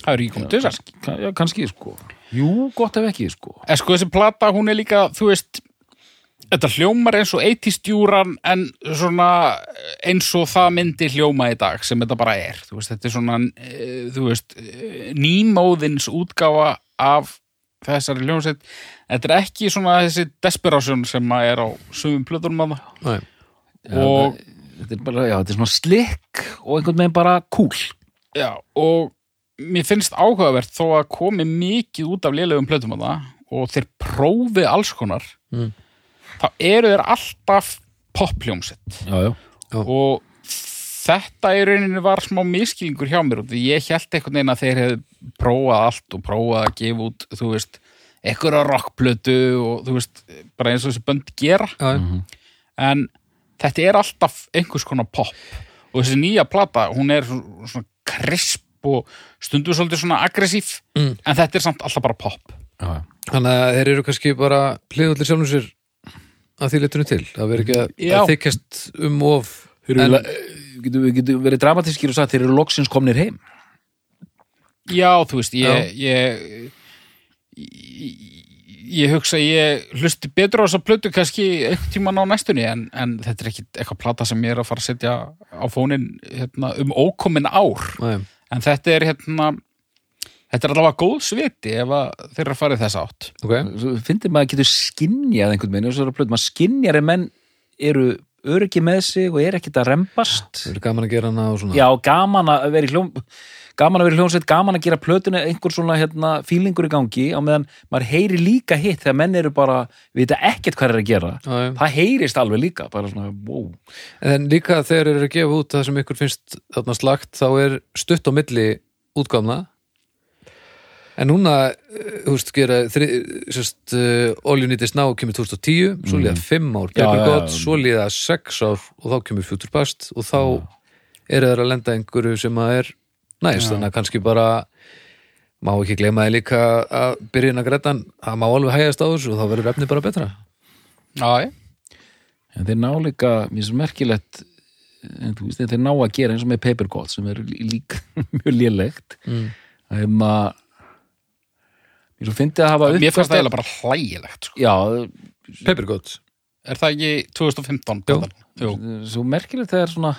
C: Það er ekki komið til þess.
B: Ka- já, kannski sko jú, gott ef ekki sko
C: En sko þessi plata, hún er líka, þú veist, þetta hljómar eins og 80 stjúran en svona eins og það myndi hljóma í dag sem þetta bara er. Þú veist, þetta er svona, eh, þú veist, eh, nýmóðins útgáfa af þessari hljómsveit. Þetta er ekki svona þessi desperation sem að er á sumum plötunum að það.
A: næ,
C: Og
B: þetta er bara, já, þetta er svona slikk og einhvern veginn bara cool
C: Já, og mér finnst áhugavert þó að komi mikið út af lélegum plötum að það og þeir prófi alls konar
A: Mm.
C: þá eru þeir alltaf poppljómsett
B: já, já,
C: og þetta í rauninni var smá miskilningur hjá mér og því ég held einhvern veginn að þeir hefði prófað allt og prófað að gefa út, þú veist, einhverja rockplötu og þú veist, bara eins og þessi bönd gera
A: já,
B: Mhm.
C: en þetta er alltaf einhvers konar pop og þessi nýja plata, hún er svo- svona krisp og stundu svolítið svona aggressív,
A: Mm.
C: en þetta er samt alltaf bara pop.
B: já, já.
A: þannig að þeir eru kannski bara hliðallir sjálfum sér að því letunum til, það verður ekki að,
C: Já.
A: að þykjast um of
B: Mhm. Þeir
A: en,
B: eru, en, getum, við getum verið dramatískir og sagt þeir eru loksins komnir heim
C: Já, þú veist,
A: Já.
C: ég ég, ég ég hugsa að ég hlusti betur á þessa plötu kannski einhvern tímann á næstunni en, en þetta er ekki eitthvað plata sem ég er að fara að setja á fónin hérna, um ókomin ár
A: næ,
C: en þetta er hérna þetta er allavega góð sviti ef að þeir eru að fara í þess átt
A: ok,
B: finnir maður að getur skinjað einhvern veginn, þessar plötu, maður skinjar en menn eru öryggi með sig og er ekkert að rembast
A: það eru gaman að gera hana og svona
B: já, gaman að vera í hljóm gaman að vera í hljómsveit, gaman að gera plötunni einhver svona hérna fílingur í gangi á meðan maður heyri líka hitt þegar menn eru bara, vita ekkert hvað er að gera
A: Já, já.
B: það heyrist alveg líka, bara svona wow.
A: En líka þegar þeir eru að gefa út það sem ykkur finnst þarna slagt þá er stutt á milli útgáfna en núna eh, þú veist, gera þri, sérst, uh, All You Need Is Now kemur 2010 svo líða 5 ár,
B: Mhm. Já,
A: Paper
B: já,
A: God
B: já.
A: svo líða 6 ár og þá kemur Future Past og þá eru þeir að lenda einhverju sem að er næst, þannig að kannski bara má ekki gleyma þið líka að byrjun að grætan, það má alveg hægjast á þessu og þá verður efni bara betra
C: Já, já
B: en þeir ná líka, mér sem merkilegt en þú veist, þeir ná að gera eins og með paper gold sem er lí- líka [laughs] mjög lélegt
A: mm.
B: það er maður mér svo fyndi að hafa
C: Mér fannst það
B: uppkastað-
C: eiginlega bara hlægilegt sko.
B: já,
A: Paper God
C: Er það ekki 2015?
A: Jú.
C: platan? Jú.
B: svo merkilegt það er svona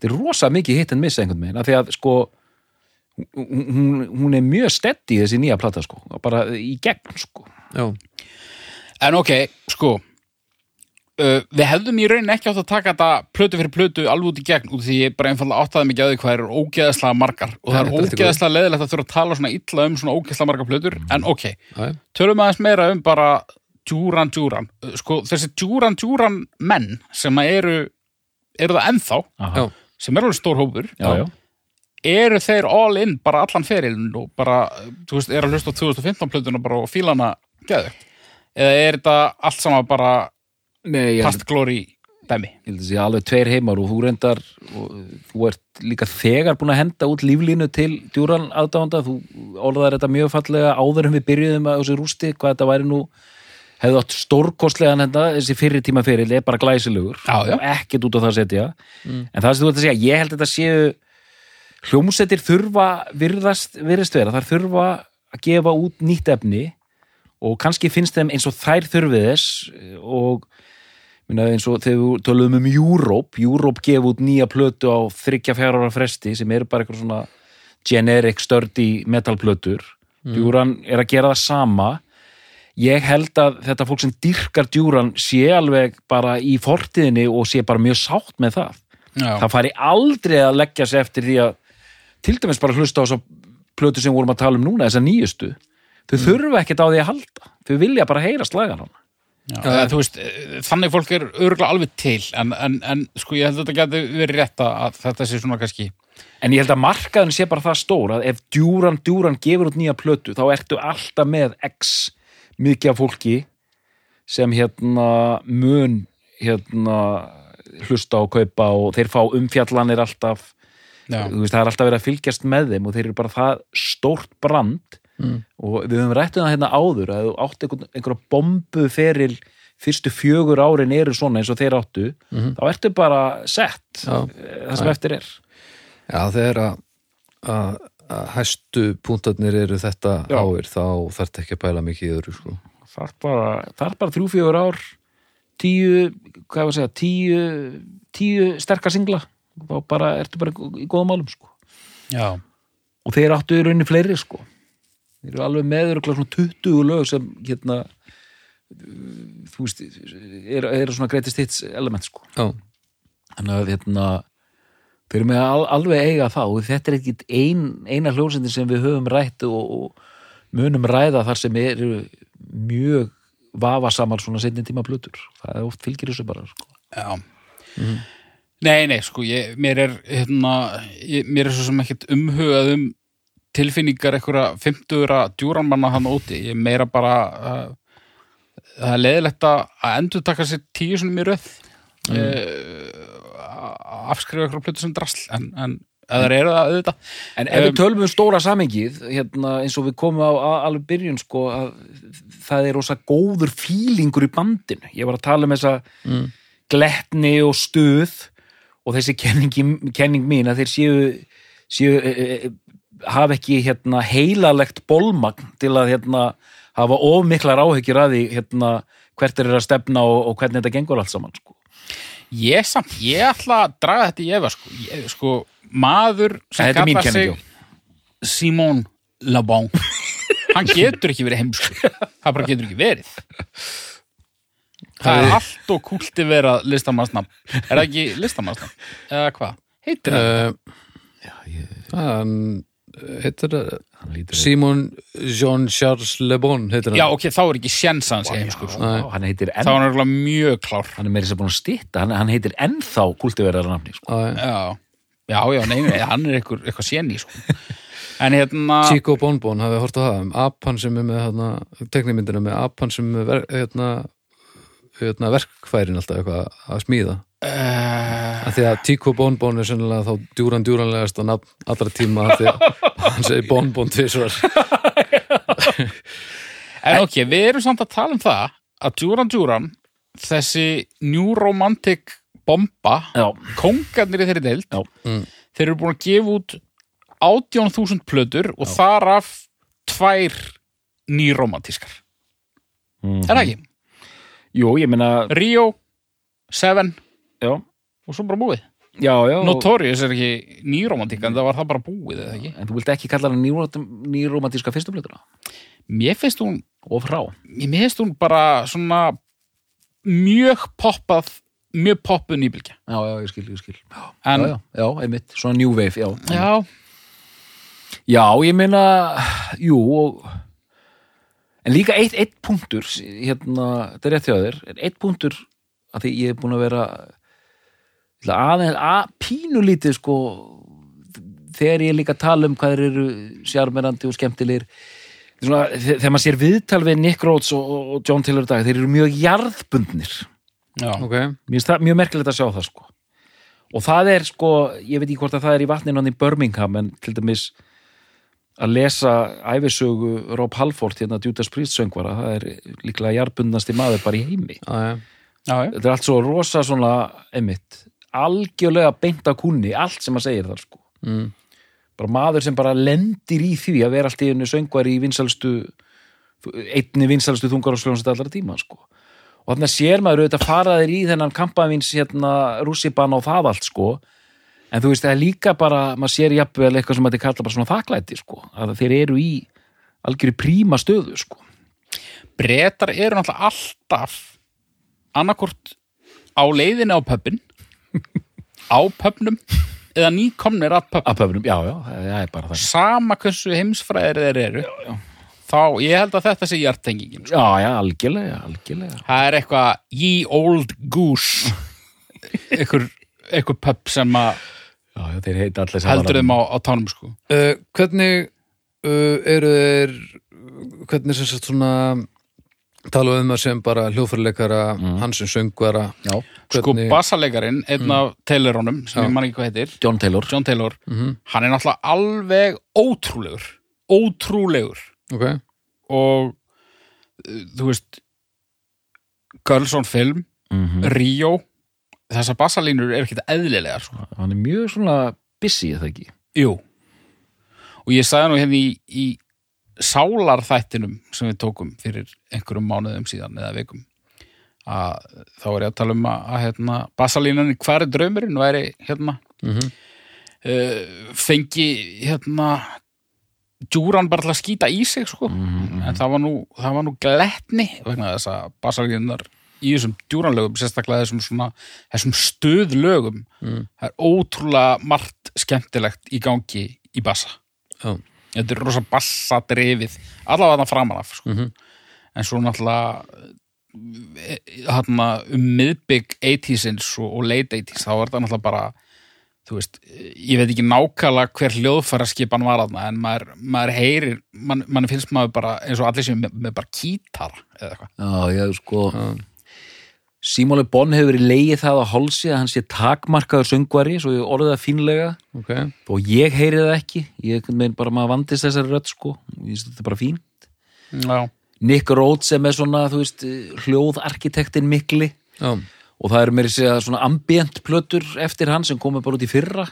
B: þetta er rosa mikið hitt en missa einhvern veginn af því að sko hún, hún- hún er mjög stedd í þessi nýja plata sko bara í gegn sko
A: Já,
C: En ok, sko uh, Við hefðum í raunin ekki átt að taka þetta plötu fyrir plötu alveg út í gegn út af því ég bara einfallega áttaði mikið að því hvað er ógeðaslega margar og
A: Nei,
C: það
A: þetta er
C: er
A: allt í
C: ógeðaslega leðilegt að þurfa að tala svona illa um svona ógeðaslega margar plötur en ok,
A: já, já.
C: tölum aðeins meira um bara djúran djúran Uh, sko, þessi djúran djúran menn sem að eru eru það ennþá,
A: Já.
C: sem er alveg stór hópur
B: já, já.
C: eru þeir all in bara allan ferilinn og bara, þú veist, eru að hlusta á 2015 plötuna bara og fílana geðugt eða er þetta allt sama bara
B: Nei, ég held
C: past glory dæmi
B: ég held að það sé alveg tveir heimar og þú reyndar og þú ert líka þegar búin að henda út líflínu til djúran aðdánda þú orðar þetta mjög fallega áður en við byrjuðum að þessi rústi hvað þetta væri nú hefði átt stórkostlegan þetta, þessi fyrri tíma fyrir er bara glæsilegur
C: Já, Mm. já.
B: og ekkert út á það að setja en það sem þú ert að segja, ég held að þetta séu hljómsettir þurfa virðast, virðast vera, þær þurfa að gefa út nýtt efni og kannski finnst þeim eins og þær þurfið þess eh, og minna, eins og þegar við tölum um Europe Europe gef út nýja plötu á þryggja fjara ára fresti sem eru bara eitthvað svona generic sturdy metalplötur mm. Duran er að gera það sama ég held að þetta fólk sem dyrkar Duran sé alveg bara í fortíðinni og sé bara mjög sátt með það
C: Já.
B: það fari aldrei að leggja sig eftir því að til dæmis bara hlusta á þess plötu sem við vorum að tala um núna, þessa nýjustu þau þurfa ekkert á því að halda þau vilja bara heyra slagan hann
C: Já, eða, þú veist, eh, þannig fólk er örgulega alveg til en, en, en sko ég held að þetta geti verið rétt að- að þetta sé svona kannski
B: en ég held að markaðin sé bara það stór að ef djúran djúran gefur út nýja plötu þá ertu alltaf með x mikið af fólki sem hérna mun hérna hlusta og kaupa og þeir fá umfjallanir alltaf
C: Já,
B: þú veist, það er alltaf verið að fylgjast með þeim og þeir eru bara það stórt brand
A: Mm.
B: og við höfum rættu það hérna áður að þú átt einhvern, einhverja bombu feril fyrstu fjögur árin eru svona eins og þeir áttu þá ertu bara sett
A: Mhm. Já.
B: eh, það sem eftir er
A: Já, þegar að, að, að hæstu púntarnir eru þetta
B: Já.
A: áir þá þarf ekki að bæla mikið í öðru sko.
B: það er bara, það er bara þrjú fjögur ár tíu, hvað ég var að segja tíu, tíu sterka singla þá bara ertu bara í góðum málum sko.
C: já,
B: og þeir áttu í rauninni fleiri sko þeir eru alveg með örugglega svona 20 lög sem hérna þú veist, eru er svona greatest hits element sko
A: Já,
B: þannig að hérna þeir eru með al, alveg eiga það og þetta er ekkit ein, eina hljómsendir sem við höfum rætt og, og munum ræða þar sem eru mjög vafasamar svona setni tíma plötur það er oft fylgir þessu bara sko.
C: já. Nei, nei, sko ég, mér er hérna, ég, mér er svo sem ekkert umhugað um tilfinningar einhverja 50 djúranmanna hann úti ég er meira bara uh, það er leiðilegt að að endur taka sér tíu svona mér röð mm. afskrifa einhverja plötu sem drasl en, en að það eru það auðvitað
B: En ef
C: Um,
B: við tölum um stóra samengið, hérna, eins og við komum á á- alveg byrjun, sko, að það er rosa góður fílingur í bandinu. Ég var að tala um þessa gletni og stuð og þessi kenningi, kenning mín að þeir séu, séu e, e, hafa ekki hérna, heilalegt bólmagn til að hérna, hafa ofmiklar áhyggjur að því hérna, hvert þeir eru að stefna og, og hvernig þetta gengur allt saman, sko.
C: Ég samt, ég ætla að draga þetta í efa sko, ég, sko maður sem
B: Þetta er mín
C: kallar sig
B: kenning,
C: Simon Labon hann getur ekki verið heimsku það bara getur ekki verið það er allt og kúlti vera listamannsnafn, er það ekki listamannsnafn eða hvað, heitir það
A: uh, hann heitir það
B: Hann lítur
A: Simon Jean-Charles Le Bon heitir hann
C: já ok, þá er ekki sjens að hann sé heimsku sko.
B: Já, hann heitir
C: þá er hann örugglega mjög klár
B: hann er meira sem búin að stýta hann, hann heitir ennþá kultiverðara nafni sko.
A: Já,
C: já, já, já nei, nei, hann er eitthvað, eitthvað sjeni sko. en hérna
A: Chico Bonbon hafði hort á það um apan sem er með hérna, teknimyndina með apan sem er ver, hérna, hérna, verkfærin alltaf eitthvað að smíða
C: uh,
A: að því að Tico Bonbon er sennilega þá djúran djúranlegast að nafn allra tíma af því að hann segir Bonbon tvisvar
C: En ok, við erum samt að tala um það að Duran Duran, þessi New Romantic bomba,
B: já,
C: kongarnir í þeirri deild,
B: já, mm.
C: þeir eru búin að gefa út 18.000 plötur og þar af tvær nýromantískar.
B: Mhm.
C: Er það ekki?
B: jú, ég meina
C: Rio, Seven
B: já,
C: og svo bara búið.
B: já, já og,
C: Notorious er ekki nýromantík en það var það bara búið eða ekki.
B: en þú vilt ekki kalla hann nýromantíska fyrstu blöðuna
C: Mér finnst hún,
B: og frá
C: mér finnst hún bara svona mjög poppað, mjög poppuð nýbylgja.
B: já, já, ég skil, ég skil já,
C: En,
B: já, já, einmitt, svona new wave já,
C: já,
B: já ég meina, jú og, en líka eitt, eitt punktur hérna, þetta er rétt hjá þér er eitt punktur að því ég er búin að vera ég ætla aðeins að pínulítið sko þegar ég er líka að tala um hvað þeir eru sjarmerandi og skemmtilegir svona, þe- þegar maður sér viðtal við Nick Rhodes og, og- og John Taylor í dag, þeir eru mjög jarðbundnir
C: já.
A: ok,
B: mér finnst það mjög merkilegt að sjá það sko og það er sko, ég veit ekki hvort að það er í vatninu hann í Birmingham en til dæmis að lesa æfisögu Rob Halford hérna Judas Priest söngvara, það er líklega jarðbundnasti maður bara í heimi
A: aðja
C: Já, já.
B: þetta er allt svo rosa svona einmitt, algjörlega beint af kunni, allt sem að segir þar sko
A: Mm.
B: bara maður sem bara lendir í því að vera allt í einu söngvar í vinsalstu einni vinsalstu þungarhúsljónsett allra tíma sko. og þannig að sér maður auðvitað faraðir í þennan kampavins hérna rússipan og það allt sko en þú veist það er líka bara, maður sér jafnvel eitthvað sem þetta kalla bara svona þaklæti sko að þeir eru í algjöru príma stöðu sko
C: Bretar eru náttúrulega alltaf annarkort á leiðinni á pöppin á pöppnum eða nýkomnir að pöppnum
B: að pöfnum, já, já, það er bara það
C: sama hversu heimsfræðir þeir eru þá ég held að þetta sé hjartengingin sko.
B: já, já, algjörlega, algjörlega
C: það er eitthvað ye old goose [laughs] einhver, einhver pöpp sem að
B: já, já, þeir heita allir
C: heldur þeim á, á tánum sko.
A: uh, hvernig uh, eru þeir hvernig sem sagt svona tala um það sem bara hljóðfærileikara hann sem söngvara
B: já,
C: sko
A: Hvernig-
C: bassalegarinn, einn af Taylorunum sem ég man ekki hvað heitir,
B: Mm. John Taylor Mhm.
C: John Taylor hann er náttúrulega alveg ótrúlegur ótrúlegur
A: ok,
C: og uh, þú veist Girls on Film,
B: Mhm.
C: Rio þessar bassalínur er ekkert eðlilegar sko.
B: hann er mjög svona busy, eða ekki
C: Jú og ég sagði nú hérna í, í sálarþættinum sem við tókum fyrir einhverjum mánuðum síðan eða vikum að þá er ég að tala um að, að hérna, bassalínan hver er draumurinn væri hérna uh, fengi hérna djúran bara til að skýta í sig sko. en það var nú, það var nú gletni vegna þess að bassalínunar í þessum djúranlögum, sérstaklega þessum svona þessum stöðlögum það er ótrúlega margt skemmtilegt í gangi í bassa
A: já,
C: þetta er rosa bassa drefið allavega þarna framan af sko. en svo náttúrulega hana, um miðbygg 80sins og, og late 80s þá var þetta náttúrulega bara þú veist, ég veit ekki nákvæmlega hver hljóðfæra skipan var aðna en maður, maður heyrir, mann man finnst maður bara eins og allir sem með, með bara kítara eða eitthvað
B: Já, já, sko Simóli Bonn hefur verið leið það á hálsi að hann sé takmarkaður söngvari svo ég orðið það fínlega
A: ok
B: og ég heyri það ekki, ég meðin bara maður vandist þessari rödd sko, ég finnst þetta bara fín
C: Já,
B: Nick Rhodes sem er svona, þú veist, hljóðarkitektin mikli
A: já,
B: og það eru meiri segja svona ambient plötur eftir hann sem komið bara út í fyrra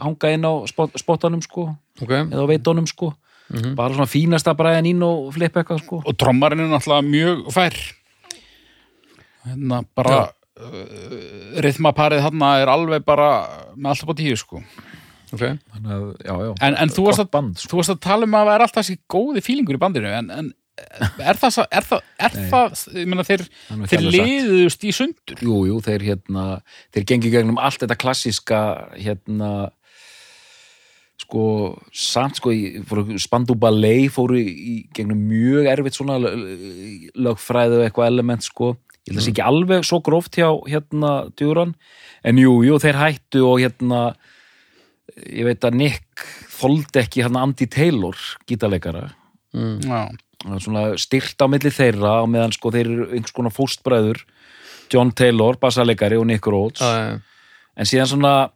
B: hanga inn á spot, spotanum sko
A: ok
B: eða á veitunum sko
C: Mhm.
B: bara svona fínasta bræðan inn og flip eitthvað sko
C: og trommarinn er náttúrulega mjög fær hérna bara uh, rithmaparið þarna er alveg bara með alltaf á tíu sko
A: ok,
B: Þannig að, já, já,
C: en, en þú, varst
B: Gott
C: að,
B: band, sko.
C: þú varst að tala um að það er alltaf þessi góði fílingur í bandinu en, en er það, sa- er það, er það ég meina þeir,
B: Það er nú ekki
C: þeir
B: alveg satt.
C: liðust í sundur
B: Jú, jú, þeir hérna þeir gengi gegnum allt þetta klassíska hérna sko, samt sko í- fóru- Spandau Ballet fóru í gegnum mjög erfitt svona l- l- lögfræði og eitthvað element sko ég held að sé ekki alveg svo gróft hjá hérna djúran, en jú, jú, þeir hættu og hérna ég veit að Nick þoldi ekki hérna Andy Taylor, gítarleikara
C: Já,
B: Það er svona styrt á milli þeirra á meðan sko þeir eru einhvers konar fóstbræður John Taylor, bassalegari og Nick Rhodes
A: já,
B: en síðan svona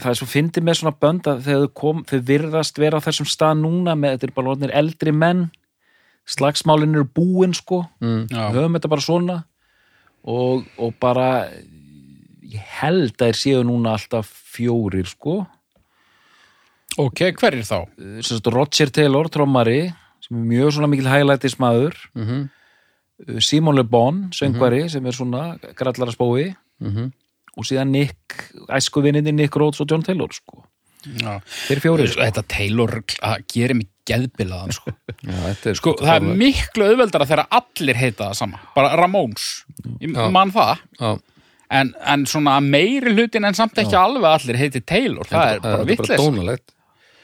B: það er svo fyndið með svona bönd að þegar þau kom þau virðast vera á þessum stað núna með þetta er bara orðnir eldri menn slagsmálin eru búin sko mm.
C: já.
B: höfum þetta bara svona og, og bara ég held að þeir séu núna alltaf fjórir sko
C: ok, hver er þá?
B: sem sagt, Roger Taylor, trommari sem er mjög svona mikil highlightis maður
A: Mhm.
B: Uh, Simon Le Bon, söngvari sem er svona grallara spói
A: Mhm.
B: og síðan Nick æskuvinninni Nick Rhodes og John Taylor sko.
C: Já.
B: þeir fjórir sko.
C: Þetta Taylor að gerir mig geðbilaðan sko.
A: já, þetta er
C: sko, það er miklu auðveldara þegar allir heita það sama, bara Ramones ég
A: Já.
C: man það
A: já,
C: en, en svona meiri hlutin en samt ekki alveg allir heiti Taylor, það er bara
A: þetta er bara
C: vitleis
A: dónalegt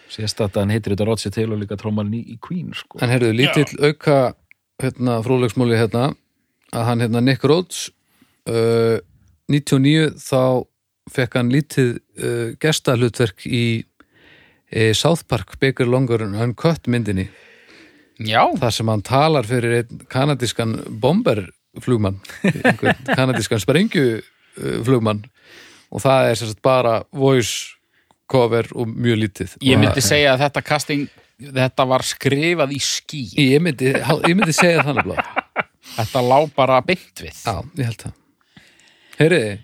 B: sést að hann heitir þetta Roger Taylor líka trómarinn í, í Queen sko.
A: En heyrðu, lítill auka hérna, fróðleiksmóli hérna að hann hérna Nick Rhodes uh, 99 þá fekk hann lítið uh, gestahlutverk í e, South Park Baker Longer and Uncut myndinni
C: Já,
A: þar sem hann talar fyrir einn kanadískan bomberflugmann [laughs] einhvern kanadískan sprengjuflugmann og það er sem sagt bara voice cover og mjög lítið
C: ég
A: Og
C: myndi
A: það-
C: segja að þetta casting þetta var skrifað í ský
A: ég myndi, ég myndi segja þannig blá
C: þetta lá bara beint við
A: Já, ég held það Heyriði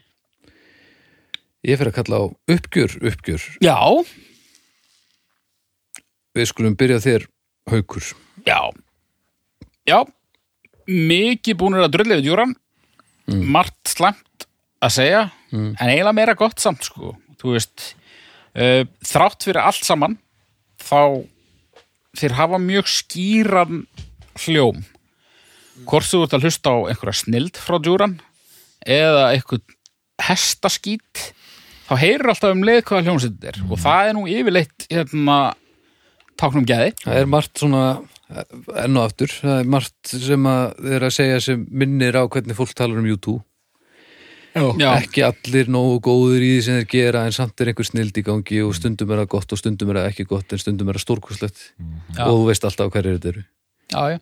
A: Ég fer að kalla á uppgjör, uppgjör
C: Já,
A: við skulum byrja á þér haukur
C: Já Já, mikið búnir að drullið við djúran margt slæmt að segja en eiginlega meira gott samt sko þú veist uh, þrátt fyrir allt saman þá þeir hafa mjög skýran hljóm hvort þú ert að hlusta á einhverja snild frá djúran eða einhvern hestaskít þá heyrir alltaf um leið hvaða hljómsveit er og það er nú yfirleitt hérna um táknum geði
A: það er margt svona eh, enn og aftur, það er margt sem að þið er að segja sem minnir á hvernig fólk talar um YouTube
C: Já.
A: ekki allir nógu góður í því sem þeir gera en samt er einhver snild í gangi og stundum er það gott og stundum er það ekki gott en stundum er það stórkurslegt og þú veist alltaf hverju þetta eru
C: já, já.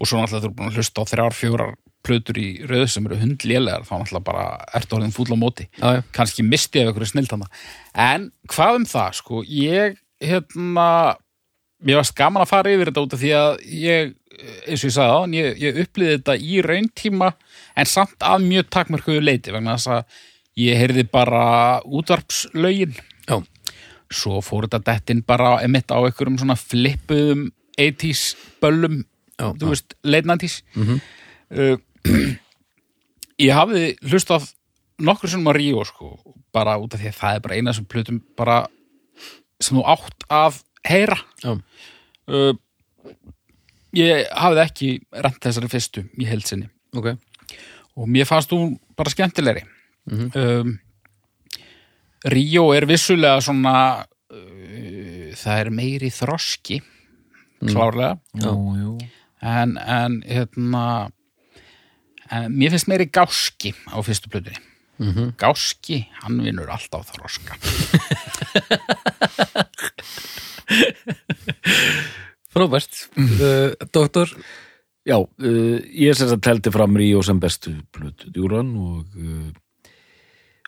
C: og svo náttúrulega þú er búin að hlusta á þrjár, fjórar plötur í röðu sem eru hundlélegar þá náttúrulega bara ertu orðin fúll á móti
A: Já, já.
C: kannski misti ef ykkur er snilt hana en hvað um það, sko, ég hérna mér varst gaman að fara yfir þetta út af því að ég, eins og ég sagði á, ég, ég upplýði þetta í rauntíma en samt að mjög takmörkuðu leiti vegna þess að ég heyrði bara útvarpslaugin
A: Já.
C: svo fór þetta dettin bara emitt á einhverjum svona flippuðum 80s böllum
A: Já, Mhm.
C: þú veist, leitnandís mm uh, [clears throat] ég hafði hlustað nokkur sem að ríu sko, bara út af því að það er bara eina sem plötum bara sem þú átt að heyra
A: Já.
C: uh, ég hafði ekki rent þessari fyrstu í helsini
A: ok,
C: og mér fannst hún bara skemmtilegri um, Ríó er vissulega svona uh, það er meiri þroski klárlega
B: Jú, jú.
C: en, en hérna en mér finnst meiri gáski á fyrstu plötunni gáski, hann vinnur alltaf þroska
A: frábært uh, Doktor,
B: Já, uh, ég sem þetta teldi fram Ríó sem bestu plötu djúran og, uh,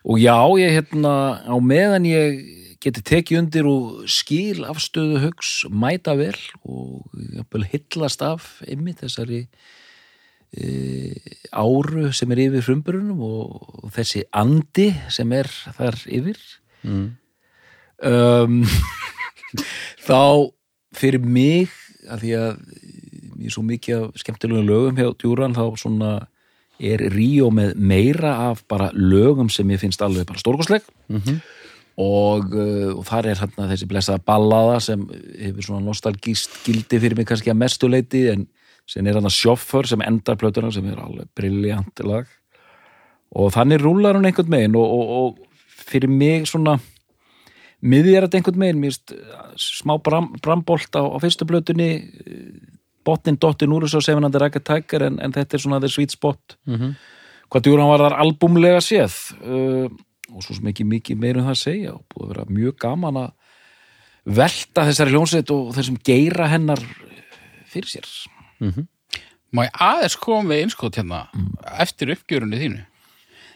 B: og já, ég hérna á meðan ég geti tekið undir og skil afstöðu hugs mæta vel og jafnvel hillast af ymmið þessari uh, áru sem er yfir frumburunum og, og þessi andi sem er þar yfir um, þá fyrir mig að því að ég er svo mikið af skemmtilegum lögum hjá djúran þá svona er Ríó með meira af bara lögum sem ég finnst alveg bara stórkostleg og, uh, og þar er hérna þessi blessaða ballaða sem hefur svona nostalgíst gildi fyrir mig kannski að mestu leiti en sem er hérna sjoffur sem endar plötuna sem er alveg briljant lag og þannig rúlar hún einhvern megin og, og, og fyrir mig svona miðjarat einhvern megin mist, eh, smá bram, brambolt á, á fyrstu blötunni Eh, botnin dottin úr þessu á sefinandi rækja tækar en, en þetta er svona þeir sweet spot -hmm. hvað djúran var þar albúmlega séð uh, og svo sem ekki mikið meira um það að segja og búið að vera mjög gaman að velta þessari hljónsveit og þessum geira hennar eh, fyrir sér
C: má ég aðeins koma við einskot hérna eftir uppgjörunni þínu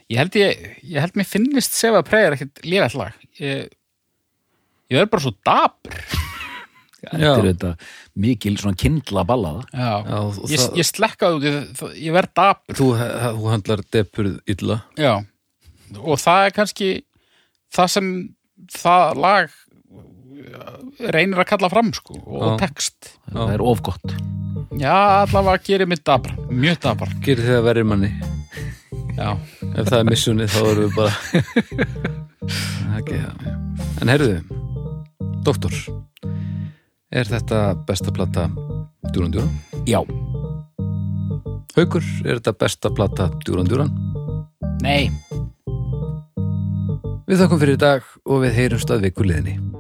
C: ég held ég, ég held mér finnist sefa að preyja ekkert lífa allag ég, ég er bara svo dapur
B: þetta er þetta mikil svona kindla ballaða
C: já,
A: Já, og
C: ég,
A: það-
C: ég slekkaði út í það- ég verð dapur
A: þú, þú handlar depurð illa
C: já, og það er kannski það sem það lag uh, reynir að kalla fram sko, og
A: Já.
C: text
B: það er ofgott
C: Já, allavega gerir mig dabra, mjög dabra
A: gerir þið að verið manni
C: Já,
A: ef það er missunni þá erum við bara [laughs] ekki það en heyrðu, Doktor er þetta besta plata Dúran Dúran?
B: já,
A: Haukur, er þetta besta plata Dúran Dúran?
C: nei
A: Við þakkum fyrir í dag og við heyrumst að vikuliðinni